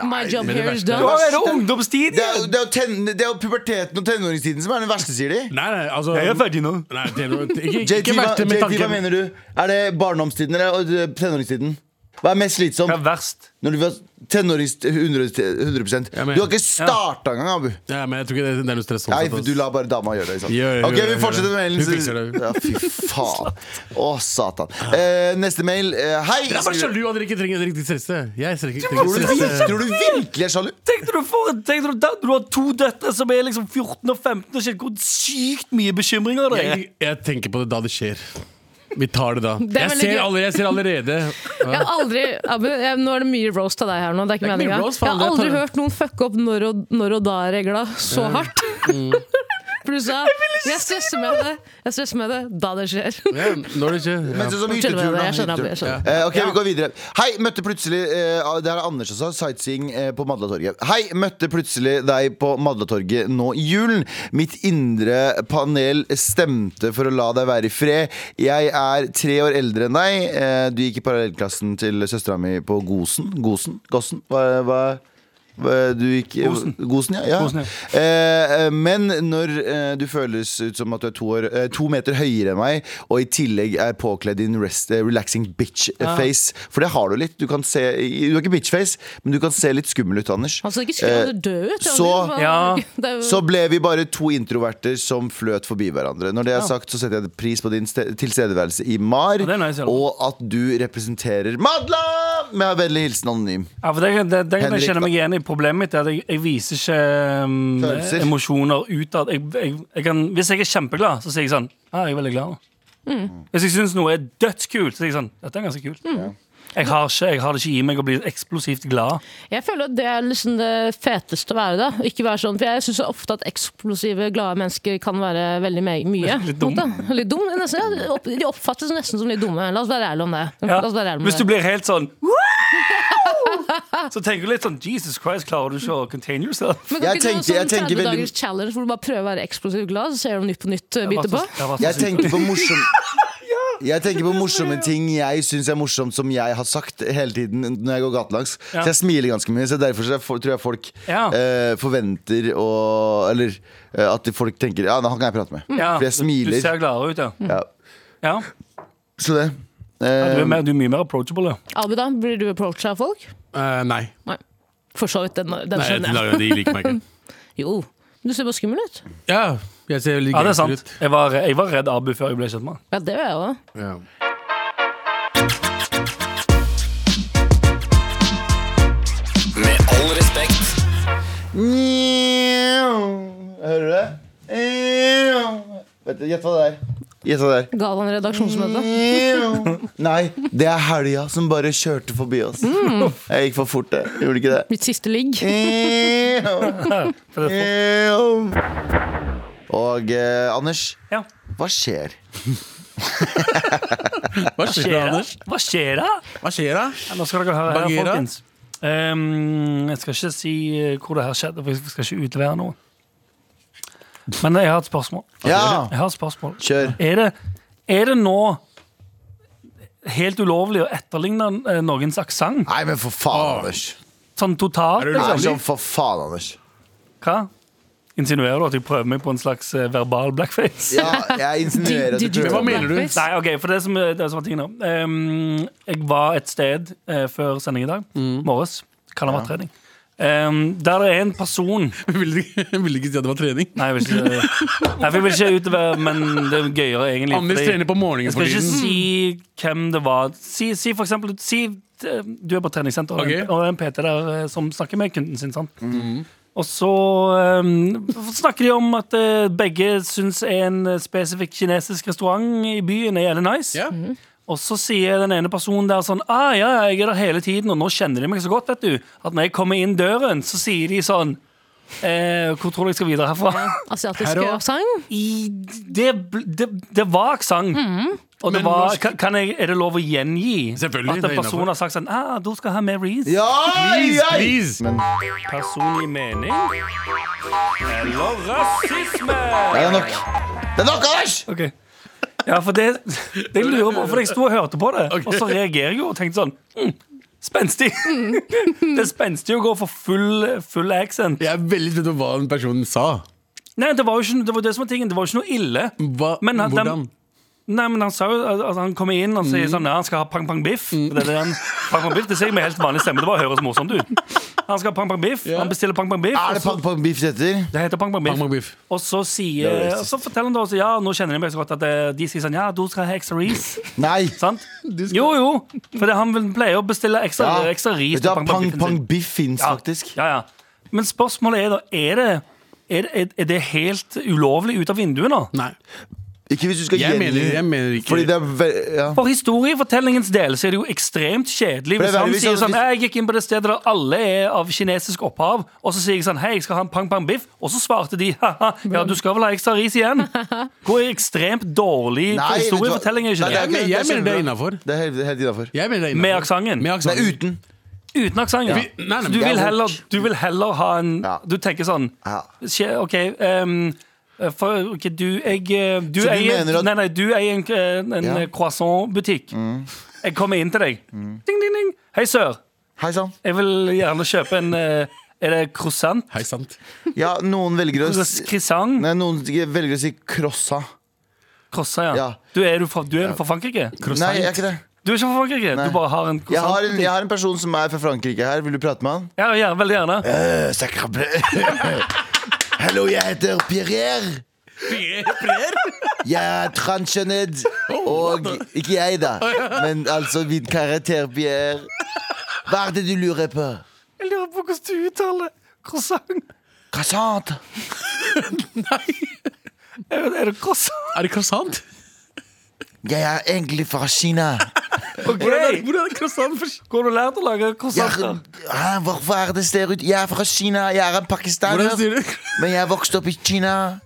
B: My job
D: men det
B: here is
D: verste-
B: done.
C: Nå er det ungdomstid
A: Det er,
C: igjen!
A: jo- det, er jo ten, det er jo puberteten og tenåringstiden som er den verste, sier de.
D: Nei, nei, altså
C: Jeg er ferdig nå.
D: Nei, det er noe, ikke, ikke,
A: JT,
D: ikke
A: hva,
D: verste med
A: JT, hva
D: tanken
A: mener du? Er det barndomstiden eller eh, tenåringstiden? Hva er mest
C: Det er
A: slitsomt?
C: verst.
A: Når du var tenårings 100, 100
D: Ja, men-
A: Du har ikke starta engang, Abu.
D: ja, men jeg tror ikke det, det er noe stress sånn
A: Nei,
D: sett,
A: for
D: ass.
A: du lar bare dama gjøre det. ikke sant?
D: Gjør det,
A: ok,
D: gjør det,
A: vi fortsetter
D: gjør
A: med
D: det.
A: mailen.
D: Hun fikser det.
A: Ja, fy faen. Å, satan. Eh, neste mail. Eh, hei!
D: Jeg er bare sjalu at dere ikke trenger dere ikke stresse. Jeg trenger ikke
A: Tror du,
D: trenger stresse.
A: tror du virkelig er sjalu?
C: Tenkte du, for, tenkte du, da, du har to døtre som er liksom 14 og 15 og shit, hvor sykt mye bekymringer det er.
D: Jeg, jeg tenker på det da det skjer. Vi tar det da.
B: er
D: Jeg
B: veldig
D: ser,
B: gøy.
D: alle, jeg ser allerede
B: Jeg har aldri Abu, jeg, Nå er det mye roast av deg her nå. Det er ikke
D: Det er ikke mye
B: meningen.
D: roast,
B: Jeg
D: faen,
B: har
D: det
B: aldri
D: tar- Mm.
B: hørt noen fucke opp når og, når og da-regla så hardt. For du sa jeg stresser med det Jeg stresser med det da det skjer.
D: ja, Når det skjer.
A: Men
D: Ja.
A: sånn som
B: Fortell meg
A: hytteturen,
B: det,
A: da,
B: jeg skjønner, Abu, jeg
A: hytteturen.
B: skjønner.
A: Eh, ok, vi går videre Hei, møtte plutselig eh, Det her er Anders også, sightseeing eh, på Madlatorget Hei, møtte plutselig deg på Madlatorget nå i julen Mitt indre panel stemte for å la deg være i fred Jeg er tre år eldre enn deg eh, Du gikk i parallellklassen til søstera mi på Gosen Gosen? Gossen? Hva, hva? hva- Du gikk,
C: Gosen.
A: Gosen, ja, ja.
C: Gosen,
A: Eh, eh, men når eh, du føles ut som at du er to, år, eh, to meter høyere enn meg, og i tillegg er påkledd i en rest, eh, relaxing bitch-face For det har du litt. Du, kan se, du har ikke bitch-face, men du kan se litt skummel ut, Anders.
B: Han så ikke skummel og død ut.
A: Eh, så-
B: Abu.
C: Ja.
B: Det er jo-
A: Så ble vi bare to introverter som fløt forbi hverandre. Når det er sagt, så setter jeg pris på din ste- tilstedeværelse i MAR,
C: Ja, det er nice, ja.
A: og at du representerer Madla! Med vennlig hilsen anonym.
C: Ja, for det, det, det, kan jeg
A: Henrik,
C: kjenne meg igjen i problemet mitt er at jeg, jeg viser ikke um,
A: Følelser.
C: emosjoner utad. Jeg, jeg, jeg kan, hvis jeg er kjempeglad, så sier jeg sånn Ja, jeg er veldig glad nå. Hvis jeg syns noe er dødskult, så sier jeg sånn Dette er ganske kult. Jeg, har ikke, jeg har det ikke i meg å bli eksplosivt glad.
B: Jeg føler at det er liksom det feteste å være da. Ikke være sånn, for Jeg syns ofte at eksplosive, glade mennesker kan være veldig me mye.
C: Litt dum.
B: på en måte. Litt dum. Nesten, ja. Opp- de oppfattes nesten som litt dumme. La oss være ærlige om det.
C: Ja.
B: La oss være ærlige om
C: Hvis du
B: det.
C: blir helt sånn «Woo!» Så tenker du litt sånn Jesus Christ, klarer du ikke å contain yourself?
B: Men kan
A: Jeg
B: ikke du ha
A: tenker- jeg
B: sånn
A: tenker
B: 30
A: veldig-
B: dagers challenge hvor du bare prøver å være eksplosivt glad, så ser du om Nytt på Nytt uh, biter på?
C: Jeg var Altså, så
A: Jeg
C: syk.
A: tenker på morsom Jeg tenker på morsomme ting jeg syns er morsomt, som jeg har sagt hele tiden når jeg går gatelangs.
C: Ja.
A: Så jeg smiler ganske mye. Så derfor så jeg for, tror jeg folk
C: Ja.
A: eh, forventer å Eller eh, at de- folk tenker Ja, nå han kan jeg prate med.
C: Ja,
A: For jeg smiler.
C: Du ser gladere ut, ja.
A: Ja.
C: ja.
A: Så det.
C: Du,
A: Eh,
C: er mer, du er mye mer approachable. Ja.
B: Abu, da? Blir du approacha av folk?
D: Eh, nei.
B: Nei. For så vidt. Den, den
D: nei jeg,
B: skjønner jeg.
D: de liker meg ikke.
B: Jo. Du ser bare skummel ut.
D: Ja, jeg ser litt
C: ja, det er
D: gangster
C: sant. Jeg var, jeg var redd Abu før jeg ble kjent med han.
B: Ja, det gjør jeg òg.
D: ut. Ja.
G: Med all respekt.
A: Eh, Njau. Hører du det? Eeeow. Vet du, Gjett hva det er. Gjett hva det er.
B: Galvan redaksjonsmøte.
A: Eeeow. Nei, det er helga som bare kjørte forbi oss.
C: Mm.
A: Jeg gikk for fort, jeg. Gjorde ikke det?
B: Mitt siste ligg.
A: Mm. Eeeow. Eeeow. Og eh, Anders,
C: Ja.
A: hva skjer?
D: Hva skjer,
C: Skjer det?
D: Anders?
C: Hva skjer da?
D: Hva skjer da?
C: Ja, Nå skal dere høre her,
D: Bagheera?
C: folkens. Ehm, jeg skal ikke si eh, hvor det her skjedde, for jeg skal ikke utlevere noe. Men jeg har et spørsmål.
A: Ja,
C: Jeg har et spørsmål.
A: kjør.
C: Er det, er det nå helt ulovlig å etterligne eh, noens aksent?
A: Nei, men for faen, Anders.
C: Sånn totalt?
D: Er det
A: Nei,
C: liksom?
A: sånn for faen, Anders.
C: Hva? Insinuerer du at jeg prøver meg på en slags eh, verbal blackface?
A: Ja, jeg insinuerer at du
B: Did- did you
D: Men hva
A: prøver.
B: do
D: mener du?
B: blackface?
C: Nei, ok, for det som, eh, det som var tingen da ehm, Jeg var et sted eh, før sending i dag Morges, kan ha vært trening Ehm, Der er en person
D: Jeg ville ikke, jeg ville ikke si at det var trening.
C: Nei, jeg vil ikke, Nei, for jeg vil ikke utover Men det er gøyere egentlig
D: Anders
C: fordi-
D: trener på morgenen
C: Jeg
D: for
C: skal ikke
D: tiden.
C: si hvem det var Si, si for eksempel si, eh, Du er på treningssenter og det er en-
D: Ok. Mm.
C: Og det er en PT der eh, som snakker med kunden sin sant? Og så eh, snakker de om at eh, begge synes en eh, spesifikk kinesisk restaurant i byen er jævlig nice.
D: Ja.
C: Og så sier den ene personen der sånn ah, ja, ja, jeg er der hele tiden, og nå kjenner de meg så godt, vet du. At når jeg kommer inn døren, så sier de sånn eh, Hvor tror du jeg skal videre herfra?
B: Asiatisk aksent.
C: I, det, bl- det, det var aksent. Og det
D: Men
C: var,
D: norsk-
C: kan- kan jeg, er det lov å gjengi
D: Selvfølgelig,
C: at en
D: det er innenfor.
C: person har sagt sånn ah, du skal ha Marys
A: Ja,
D: Please,
A: ja, ja.
D: please.
C: personlig mening eller rasisme?
A: Nei, det er nok. Det er nok, Anders!
C: Ok. Ja, for det, det lurer jeg på, for jeg sto og hørte på det, og så reagerer jeg jo og tenkte sånn mm, Spenstig! Det er spenstig å gå for full, full accent.
D: Jeg er veldig spent på hva den personen sa.
C: Nei, det var jo ikke, det, var det som var tingen. Det var jo ikke noe ille.
D: Hva,
C: Men at de-
D: hvordan?
C: Nei, men han sa jo at at han kommer inn og sier
A: Mm.
C: sånn Ja, han skal ha pang pang biff. Det, er det, han, pang, pang, biff. det sier jeg med helt vanlig stemme. Det bare høres morsomt ut. Han skal ha pang pang biff. Han bestiller pang pang biff.
A: Er
C: og
A: det
C: så-
A: pang pang biff det heter?
C: Det heter pang pang biff.
D: Bang, bang, biff.
C: Og så, sier, og så forteller han da også, ja, nå kjenner de meg så godt at eh, de sier sånn Ja, du skal ha ekstra ris.
A: Nei.
C: Sant? Jo, jo. For det, han vil- pleier å bestille ekstra,
A: Ja.
C: ekstra ris.
A: Vet du hva,
C: til
A: pang
C: biffen
A: pang
C: sin.
A: biff fins
C: Ja.
A: faktisk.
C: Ja, ja. Men spørsmålet er da Er det, er det, er det helt ulovlig ut av vinduet nå?
D: Nei.
A: Ikke hvis du skal
D: Jeg
A: gjengi
D: mener, jeg mener ikke
A: Fordi det er ve ja.
C: For historiefortellingens del så er det jo ekstremt kjedelig
A: For det
C: hvis
A: er
C: han
A: veldig-
C: sier
A: hvis-
C: sånn Jeg gikk inn på det stedet der alle er av kinesisk opphav, og så sier jeg sånn Hei, jeg skal ha en pang pang biff, og så svarte de haha, ja, du skal vel ha ekstra ris igjen? Hvor ekstremt dårlig
A: Nei, vet du hva?
C: historiefortelling er
A: Nei,
C: ikke det?
A: ikke-
D: Men jeg mener det er
A: skjønner
D: innafor.
A: du. Det er helt, helt innafor.
D: Jeg mener det er
C: Med
D: innenfor.
C: aksenten.
D: Med
A: Nei,
D: aksenten.
A: uten.
C: Uten aksent.
D: Vi- nei, nei,
C: Så
D: men
C: du
D: det
C: vil,
A: er
C: heller,
A: vårt.
C: du vil heller ha en
A: Ja.
C: Du tenker sånn
A: Ja.
C: skje- OK ehm, for, ok, du, jeg, eh, du,
A: Så du
C: eier,
A: mener at-
C: nei, nei, du eier en, en, en
A: Ja. Mm.
C: croissantbutikk. Jeg kommer inn til deg. Ding, ding, ding. Hei, sør.
A: Hei sann.
C: Jeg vil gjerne kjøpe en eh, Er det croissant?
D: Hei, sant.
A: Ja, noen velger å s-
C: Croissant?
A: Nei, noen velger å si crossa.
C: Croissant, ja.
A: Ja.
C: Du, er, du fra, du er fra Frankrike?
A: Nei, jeg er ikke det.
C: Du er ikke fra Frankrike,
A: Nei.
C: du bare har en
A: Jeg har,
C: croissant?
A: en, jeg har en person som er fra Frankrike her. Vil du prate med han?
C: Ja, ja, veldig gjerne.
A: Eh, sacre bleu. Hallo, jeg heter Pierre. Jeg er transgened.
D: Oh,
A: Og ikke jeg, da, men altså min karakter Pierre. Hva er det du lurer på?
C: Jeg lurer på hvordan du uttaler croissant.
A: Croissant.
C: Er det- er det croissant?
D: Er det croissant?
A: Jeg er egentlig fra Kina.
C: Ok,
D: Hvor er det croissant for
C: Hvor har du lært å lage
A: Jeg,
C: croissant? da?
A: Hæ, hvorfor er det ser ut? Jeg er fra Kina. Jeg er en
D: Hvordan
A: pakistaner.
D: sier du?
A: Men jeg vokste opp i Kina.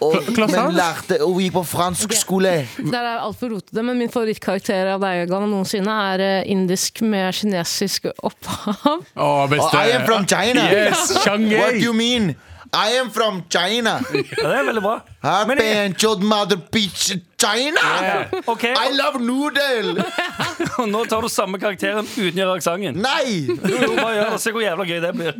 A: Og,
D: croissant?
A: men lærte og gikk på fransk skole.
B: Der er alt for rotete, men min favorittkarakter av deg Galvan, noensinne er eh, indisk med kinesisk opphav.
D: Å, beste.
A: I am from China.
D: Yes,
A: What do
D: Shanghai.
A: you mean? I am from China.
C: Ja, det er veldig bra.
A: I've
C: Men jeg-
A: been your mother bitch China.
C: OK,
A: I love noodle.
C: og nå tar du samme karakteren uten å gjøre aksenten.
A: Nei!
C: Bare gjør det, se hvor jævla gøy det blir.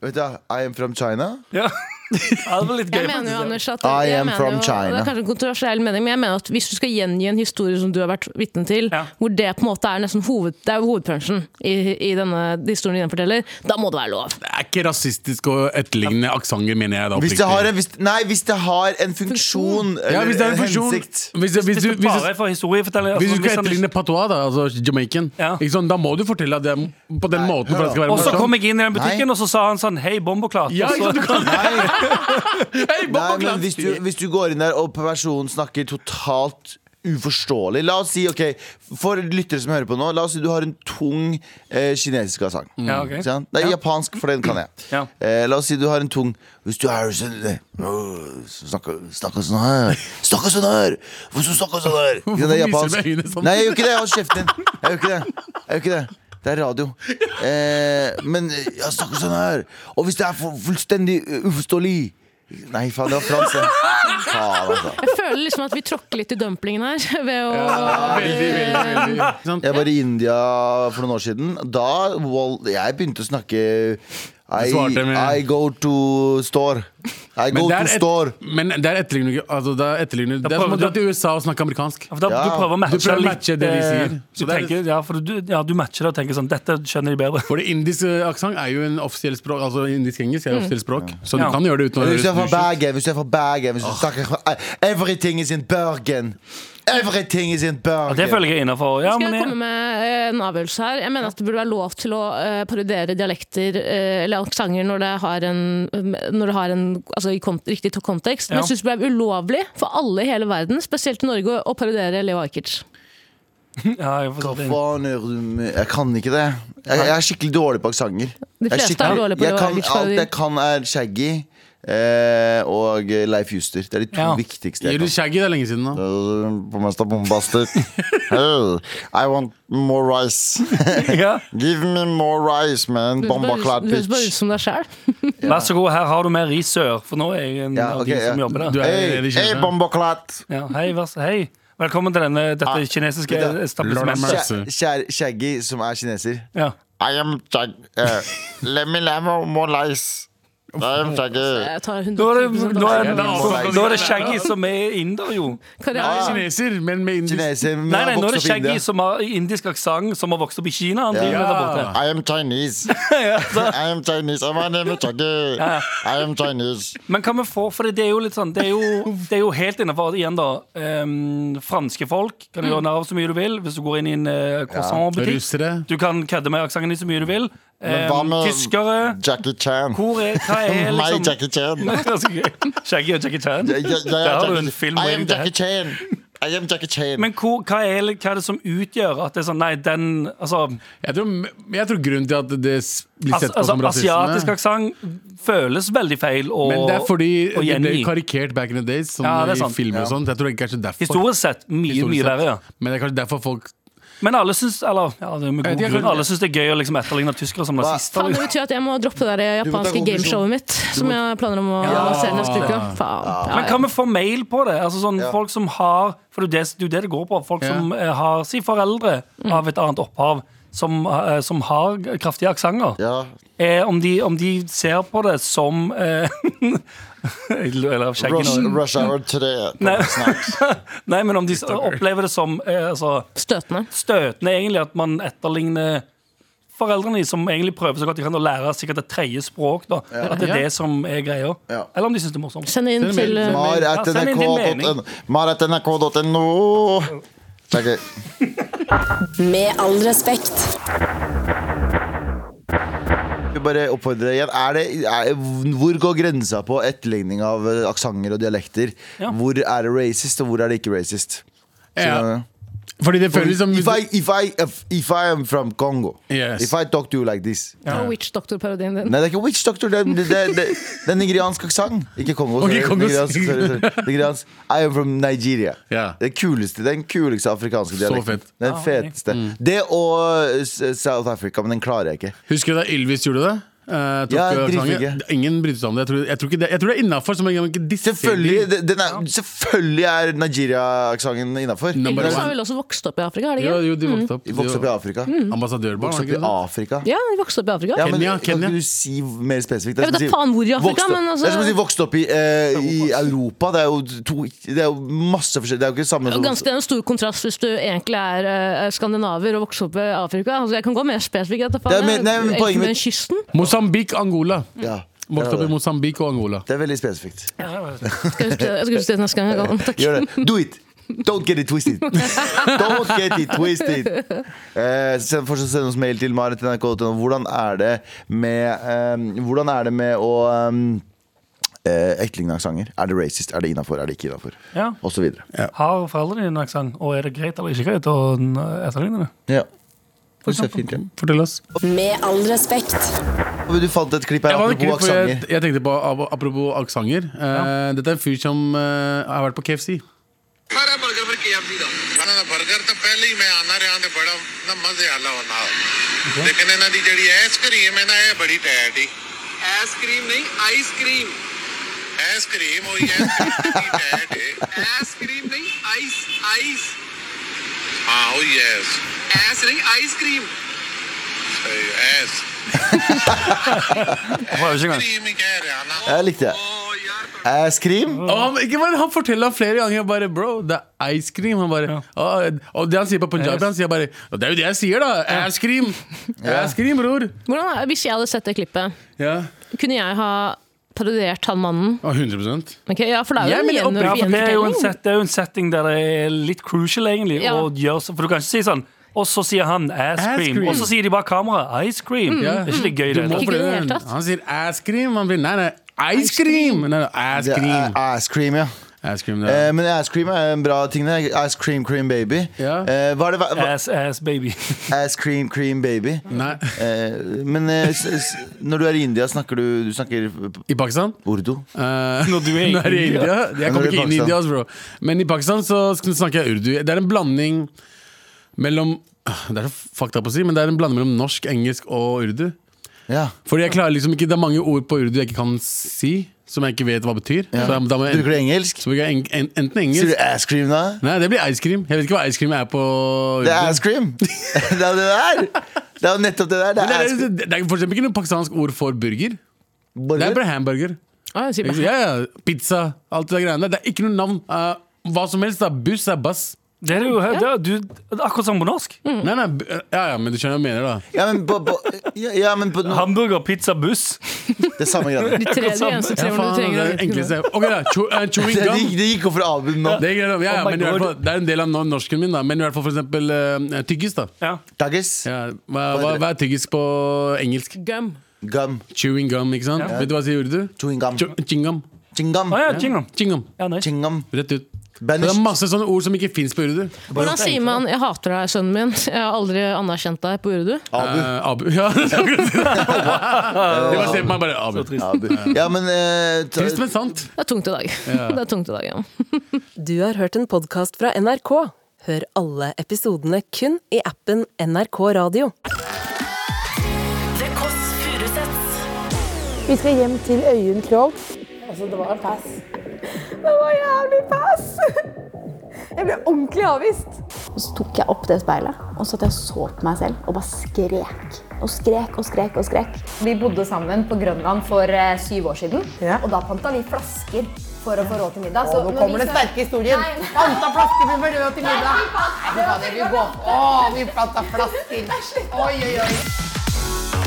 A: Vet du, hva? I am from China.
C: Ja. Ja, Det var litt gøy.
B: Jeg mener jo, Anders, at eh,
A: I
B: jeg
A: am
B: mener
A: from
B: jo,
A: China.
B: Det er kanskje en kontroversiell mening, men jeg mener at hvis du skal gjengi en historie som du har vært vitne til,
C: Ja.
B: hvor det på en måte er nesten hoved, det er jo hovedpunsjen i, i denne historien du gjenforteller, da må det være lov.
D: Det er ikke rasistisk å etterligne aksenter, mener jeg da.
A: Hvis det
D: oppriktig.
A: har en, hvis, nei, hvis det har en funksjon eller
D: ja, hvis det er en funksjon
A: hensikt.
D: Hvis, hvis,
C: Hvis
D: du,
C: det
D: hvis,
C: bare er for historiefortelling
D: Hvis du
C: altså,
D: skal
C: han ikke-
D: etterligne patois, da, altså Jamaican,
C: Ja.
D: ikke sant? da må du fortelle det på den måten. for at det skal være
C: Og så
D: morsomt.
C: kom jeg inn i den
A: Nei.
C: butikken, og så sa han sånn Hei, bomboklart.
D: ja,
C: Og
D: ikke
C: så-
D: sant, du kan.
A: Nei,
D: Hei, Bob
A: Nei,
D: og
A: men hvis
D: Glans!
A: du, hvis du går inn der og personen snakker totalt uforståelig La oss si, ok, for lyttere som hører på nå La oss si du har en tung eh, kinesisk sang
C: Ja, ok.
A: Ikke sant? Nei,
C: Ja.
A: japansk, for den kan jeg
C: Ja.
A: eh, La oss si du har en tung Hvis du er sånn eh, Snakker snakker sånn her Snakker sånn her Hvorfor snakker sånn her Ikke sant, det er
D: Hvorfor viser du meg øynene
A: japansk
D: sånn?
A: Nei, jeg gjør ikke det, hold kjeften din Jeg gjør ikke det, jeg gjør ikke det det er radio eh, Men jeg snakker sånn her Og hvis det er fu- fullstendig eh, uforståelig Nei, faen, det var fransk det. Faen, altså.
B: Jeg føler liksom at vi tråkker litt i dumplingen her. Ved å
D: Veldig, veldig, veldig.
A: Jeg var i India for noen år siden. Da well, jeg begynte å snakke I,
D: Du svarte med-
A: I go to store. I go to store.
D: men det er etterligner altså, Det er etterligner Det er som å
C: prøver
D: dra
C: du-
D: til USA og snakke amerikansk.
C: For da,
A: Ja.
C: Du prøver å matche,
D: Du prøver å matche
C: litt,
D: det de
C: eh,
D: sier.
C: Du,
D: Så det er-
C: tenker, ja, for du, ja, du matcher det og tenker sånn Dette skjønner de bedre.
D: For det indiske aksent er jo en offisiell språk Altså indisk-engelsk er offisiell språk, så du
C: Ja.
D: kan gjøre det uten å
A: Hvis du er fra
D: høres douche ut.
A: Bergen, hvis du er fra Bergen hvis du snakker, fra- Everything is in Bergen. Everything is in Bergen.
C: Det føler jeg er innafor. Ja,
B: Skal
C: men
B: jeg komme
C: jeg,
B: med eh, en avgjørelse her? Jeg mener at det burde være lov til å eh, parodiere dialekter eh, eller aksenter når det har en, um, når det har en altså, i kont riktig to- kontekst. Men
C: Ja.
B: jeg syns det burde være ulovlig for alle i hele verden, spesielt i Norge, å parodiere Leo Ajkic.
C: ja, jeg får
A: Hva
C: det inn.
A: faen gjør du med Jeg kan ikke det. Jeg, jeg er skikkelig dårlig på aksenter.
B: De
A: Jeg er
B: fleste er
A: skikkelig-
B: dårlige på
A: jeg
B: Leo
A: kan,
B: Ajkic.
A: Alt jeg
B: parodier.
A: kan, er Shaggy eh, og Leif Juster. Det er de to
C: Ja.
A: viktigste jeg
D: Gir
A: kan. Eh,
D: du Shaggy det er lenge siden nå?
A: på mesta bombastic. Oh, I want more rice.
C: Ja.
A: Give me more rice, man.
B: Du høres bare
A: Bombaklad
B: ut- du høres bare
A: bitch.
B: ut som deg sjæl.
C: Vær så god, her har du mer risør, for nå er jeg en
A: Ja,
C: av
A: ok,
C: de som
A: ja.
C: jobber
D: Du
C: der.
D: er
A: Hey,
D: allerede i
A: hey,
D: kjøpet.
A: bombaklat.
C: Ja, hei, vær så, hei. Velkommen til denne,
A: Ah,
C: dette kinesiske
A: det-
D: Lord
C: etablissementet.
D: Mercy.
A: Kjæ- kjære- Shaggy, som er kineser.
C: Ja.
A: I am Shaggy. Eh, let me have more rice. I am Shaggy.
B: Jeg tar
C: Da er,
B: 100
C: det, da, er,
D: det er
C: da,
D: avstand.
C: er det Shaggy som er inder, jo.
B: Karriere.
D: Ja. Kineser, men med indisk
A: Kineser, men
C: Nei, nei,
A: har
C: nå er
A: vokst opp
C: det
A: i
C: Shaggy
A: India.
C: som har indisk aksent, som har vokst opp i Kina. Han driver
D: Ja.
C: der borte.
A: I am Chinese. I am Chinese. Oh, My name is Shaggy. I am Chinese.
C: Men hva vi får, for det er jo litt sånn Det er jo, det er jo helt innenfor igjen, da. ehm, franske folk kan du gjøre narr av så mye du vil hvis du går inn i en eh, croissantbutikk.
D: Mm. Russere.
C: Du kan kødde med aksenten din så mye du vil.
A: Men hva
C: Ehm,
A: med-
C: Tyskere.
A: Jackie Chan.
C: Hvor er, hva er
A: My
C: liksom
A: Jackie Chan.
C: Ganske gøy. Shaggy og Jackie Chan.
A: Jeg- jeg- jeg er
C: Der har du
A: Jackie-
C: en film.
A: I am
C: waiting to
A: Jackie Chan. I am Jackie Chan.
C: Men hvor, hva, er, hva er det som utgjør at det er sånn Nei, den Altså,
D: Jeg tror, jeg tror grunnen til at det s- blir
C: as,
D: sett på
C: altså
D: som
C: asiatisk
D: rasisme
C: aksent føles veldig feil å
D: Men det er fordi
C: å
D: det ble
C: gjengi.
D: karikert back in the days, sånn
C: Ja, det er
D: i
C: sant.
D: filmer og sånt. Jeg tror det er kanskje derfor
C: Historisk sett mye,
D: historisk
C: mye
D: sett.
C: verre. ja.
D: Men det er kanskje derfor folk
C: Men alle syns eller, ja, det er med
D: Jeg vet
C: god
D: ikke,
C: grunn,
D: jeg-
C: alle syns det er gøy å liksom etterligne tyskere som nazister.
B: Faen, det
C: Liksom.
B: betyr at jeg må droppe det der
A: må ta
B: japanske
A: konklusjon.
B: gameshowet mitt, som jeg planer om å se neste uke. Faen. Ja,
C: Men
B: ja.
C: kan vi få mail på det? Altså sånn Folk som har For det er jo det det, er jo det, det går på. Folk
D: Ja. Mm.
C: som eh, har Si foreldre av et annet opphav. Som, eh, som har kraftige aksenter.
A: Ja.
C: Eh, om, de- om de ser på det som eh, Eller av skjegget
A: Rush,
C: nå.
A: rush hour 3.
C: Nei. Nei, men om de s- opplever det som eh, altså,
B: Støtende.
C: støtende egentlig at man etterligner foreldrene de som egentlig prøver så godt de kan å lære sikkert et tredje språk. da At det er
D: Ja.
C: det som er greia.
A: Ja.
C: Eller om de syns det er morsomt.
B: Send inn
D: Send
B: til
D: mail.
B: eh,
A: Mar
C: Ja, send inn din mening.
A: nrk.no. Jackie.
F: Med all respekt.
A: Vi bare oppfordrer deg igjen. Er det, er, hvor går grensa på etterligning av eh, aksenter og dialekter?
C: Ja.
A: Hvor er det racist, og hvor er det ikke racist?
D: ja, Fordi det føles som
A: If I, if, I, if, if I am from Congo,
D: liksom, Yes.
A: if I talk to you like this
B: og Witch Doctor-parodien eh, din.
A: Nei, det er ikke witch doctor, det er, det, det, det, det er nigeriansk aksent. Ikke Kongo.
D: Ok,
A: sorry.
D: Kongo.
A: Nigeriansk, sorry, sorry. Nigeriansk. I am from Nigeria.
D: Ja.
A: Det kuleste, Den kuleste afrikanske dialekten.
D: fett. Mm.
A: Den
C: Ja, ok.
A: feteste. Det og eh, S- South Africa, men den klarer jeg ikke.
D: Husker du da Elvis gjorde det? Eh, tok
A: Ja,
D: eh,
A: dritflinke.
D: sangen. Ingen brydde seg om det. Jeg tror, jeg tror, ikke det, jeg tror det er innafor.
A: Selvfølgelig, det- den er, selvfølgelig er Nigeria-aksenten innafor.
D: Number
B: Elvis har
D: one.
B: vel også vokst opp i Afrika? har de
D: Jo,
B: ikke?
D: jo, de vokste opp.
A: De vokste opp i Afrika.
D: Mm. Ambassadørbarn.
A: Vokste opp
D: var det
A: i
D: ikke det?
A: Afrika.
B: Ja, de vokste opp i Afrika.
A: Ja, men
D: Kenya,
A: Kan
D: Kenya.
A: ikke du si mer spesifikt?
B: Jeg vet da faen hvor i Afrika,
A: vokste, opp-
B: men altså-
A: Det er som å si vokste opp i, eh, i Europa. Det er jo, to, det er jo masse forskjell. Det er jo ikke det samme
B: Og
A: som
B: Ganske det er en stor kontrast hvis du egentlig er eh, skandinaver og vokser opp i Afrika. Altså, jeg kan gå mer spesifikt. etter
A: Det er
B: faen,
A: mer-
B: jeg-
A: nei, men poenget mitt-
B: Elfenbenskysten.
D: Mosambik, Angola.
A: ja, det,
D: Vokste
A: er
D: opp i
A: det.
D: Mosambik og Angola.
A: det er veldig spesifikt.
B: Skal jeg huske det- jeg skal huske det neste gang. jeg går. Takk.
A: Gjør det. Do it! Don't get it twisted. Don't get it twisted eh, send, Fortsatt send oss mail til ehm, marit.nrk.no. Hvordan er det med eh, Hvordan er det med å eh, eh, etterlignende aksenter. Er det racist? Er det innafor? Er det ikke innafor?
C: Ja.
A: Og så videre.
C: Har foreldrene dine aksent, og er det greit eller ikke greit å eh, etterligne det?
A: Ja. Det ser fint ut.
C: Fortell oss.
F: Med all respekt.
A: Men Du fant et klipp her
D: Jeg, var
A: apropos
D: ikke, for jeg,
A: aksenter.
D: jeg tenkte på ap- Apropos aksenter. Eh, Dette er en fyr som eh, har vært på KFC.
G: हमारा burger पर KFC था ना बर्गर तो पहले ही मैं आना रहा ते बड़ा ना मजे आला होना लेकिन इन्हों की जड़ी आइसक्रीम है ना ये बड़ी टैट ही आइसक्रीम नहीं आइसक्रीम आइसक्रीम हुई है आइसक्रीम नहीं आइस आइस हाँ हुई है ऐस नहीं ice cream ice
C: Jeg prøver ikke engang.
G: Cream ही कह रहा ना
A: Jeg likte det.
G: ओ यार
A: Eh, Skrim.
D: Og han, ikke bare, han forteller han flere ganger bare Bro, det er ice cream. Han bare, «Å, eh, og det han sier på punjabi, han sier bare «Å, Det er jo det jeg sier, da! Ass cream! Ass cream, bror!
B: Hvordan, er- hvis jeg hadde sett det klippet,
D: Ja.
B: kunne jeg ha parodiert han mannen?
D: Å, 100
B: Ok, ja, for det er
D: Jeg
B: jo en
D: mener
B: gjen-
C: Ja, for det er, jo en
B: gjenfortelling.
C: set, det er jo en setting der det er litt crucial, egentlig.
B: Ja.
C: å gjøre så, for du kan ikke si sånn Og så sier han ass
D: Ass
C: cream.
D: cream.
C: Og så sier de bare kamera. Ice cream. Det er ikke litt gøy, det.
D: Må
B: Ikke i det
D: prøve
B: hele
D: den.
B: tatt.
D: Han sier ass cream. Han blir, nei, nei, ice cream! Nei, nei, ass
A: Det er
D: cream.
A: Ass eh, Cream, ja.
D: Ass cream, det
A: Eh,
D: er.
A: men Ass Cream er en bra ting. det. Ass Cream Cream Baby.
D: Ja. Eh.
A: Eh, hva er det, hva, hva,
C: Ass, ass, baby.
A: ass Cream Cream Baby.
D: Nei.
A: Eh, men eh, s s når du er i India, snakker du, du snakker
D: I Pakistan?
A: urdu?
D: Eh,
C: Når du er i
D: Nå er det
C: India.
D: India. Jeg
A: Nå er
D: kommer
A: det
D: ikke inn i
A: Pakistan.
D: India, ass, bro. Men i Pakistan så sk- snakker jeg urdu. Det er en blanding mellom Ah, Det er så fucked up å si, men det er en blanding mellom norsk, engelsk og urdu.
A: Ja.
D: Fordi jeg klarer liksom ikke Det er mange ord på urdu jeg ikke kan si, som jeg ikke vet hva betyr. Så da, da må jeg
A: Bruker du
D: enten,
A: engelsk?
D: så bruker jeg en, en, enten
A: Sier du
D: engelsk
A: Ass Cream da?
D: Nei, det blir ice cream. Jeg vet ikke hva ice cream er på urdu.
A: Det er Ass Cream! det er jo det der! Det er jo nettopp det der. Det
D: Men
A: er
D: det,
A: ass
D: er,
A: cream.
D: det, er for eksempel ikke noe pakistansk ord for burger. Det er
A: Borger?
D: bare hamburger.
B: Ah, jeg sier bare-
D: Ikke sant? Ja, ja. Pizza, alt det der greiene der. Det er ikke noe navn. Eh, hva som helst. da Buss er bass.
C: Det er jo det er, du, det er akkurat som på norsk.
D: Nei, nei, bu- ja, ja, men du skjønner hva jeg mener, da.
A: Ja, men på, på, ja, ja, men på det
C: Hamburger, pizza, buss.
A: er samme greiene.
B: De tre de eneste tre ordene du
D: Ja, faen, det
B: trenger.
D: er
B: å
D: det
B: vite.
D: enkleste. Ok, da. Chew- eh, Chewing
A: Det,
D: gum.
A: gikk- det gikk opp fra Abu nå.
D: Det er, greit, ja, ja,
C: Oh my
D: men i hvert
C: God.
D: fall, det er en del av nor- norsken min, da. Men i hvert fall for eksempel eh, tyggis, da.
C: Ja.
A: Daggis,
D: Ja, hva, hva, hva er tyggis på engelsk?
B: Gum.
A: gum,
D: Chewing gum, ikke sant?
C: Ja.
D: Vet du hva sier urdu?
A: chewing gum,
D: Chew- Chingam.
A: chingam,
C: Å ja, chingam.
D: Chingam.
C: Ja, nice.
A: chingam.
D: Rett ut. Så Det
A: Banished.
D: er masse sånne ord som ikke fins på urdu.
B: Hvordan sier man 'jeg hater deg, sønnen min'? Jeg har aldri anerkjent deg på urdu.
A: Abu.
D: Eh, abu. Ja, det er akkurat det. De bare ser på meg bare Abu.
A: Abu. Ja, men eh, ta,
D: Trist, men sant.
B: Det er tungt i dag. Det er tungt i dag, ja.
F: Du har hørt en podkast fra NRK. Hør alle episodene kun i appen NRK Radio.
H: Vi skal hjem til Øyunn Krogh. Altså, det var pass. Det var jævlig pass! Jeg ble ordentlig avvist.
I: Og så tok jeg opp det speilet og så satt jeg og så på meg selv og bare skrek. Og skrek og skrek og skrek.
J: Vi bodde sammen på Grønland for eh, syv år siden.
H: Ja.
J: Og da panta vi flasker for å få råd til middag.
H: Og nå kommer den sterke historien. Panta flasker med brød til middag. Nei, fy faen, det vil gå. Å, vi panta flasker. Oi, oi, oi.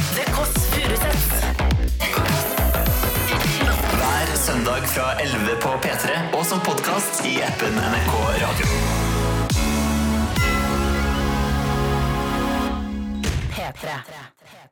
K: Hver søndag fra 11 på P3 og som podkast i appen NRK Radio.
J: P3.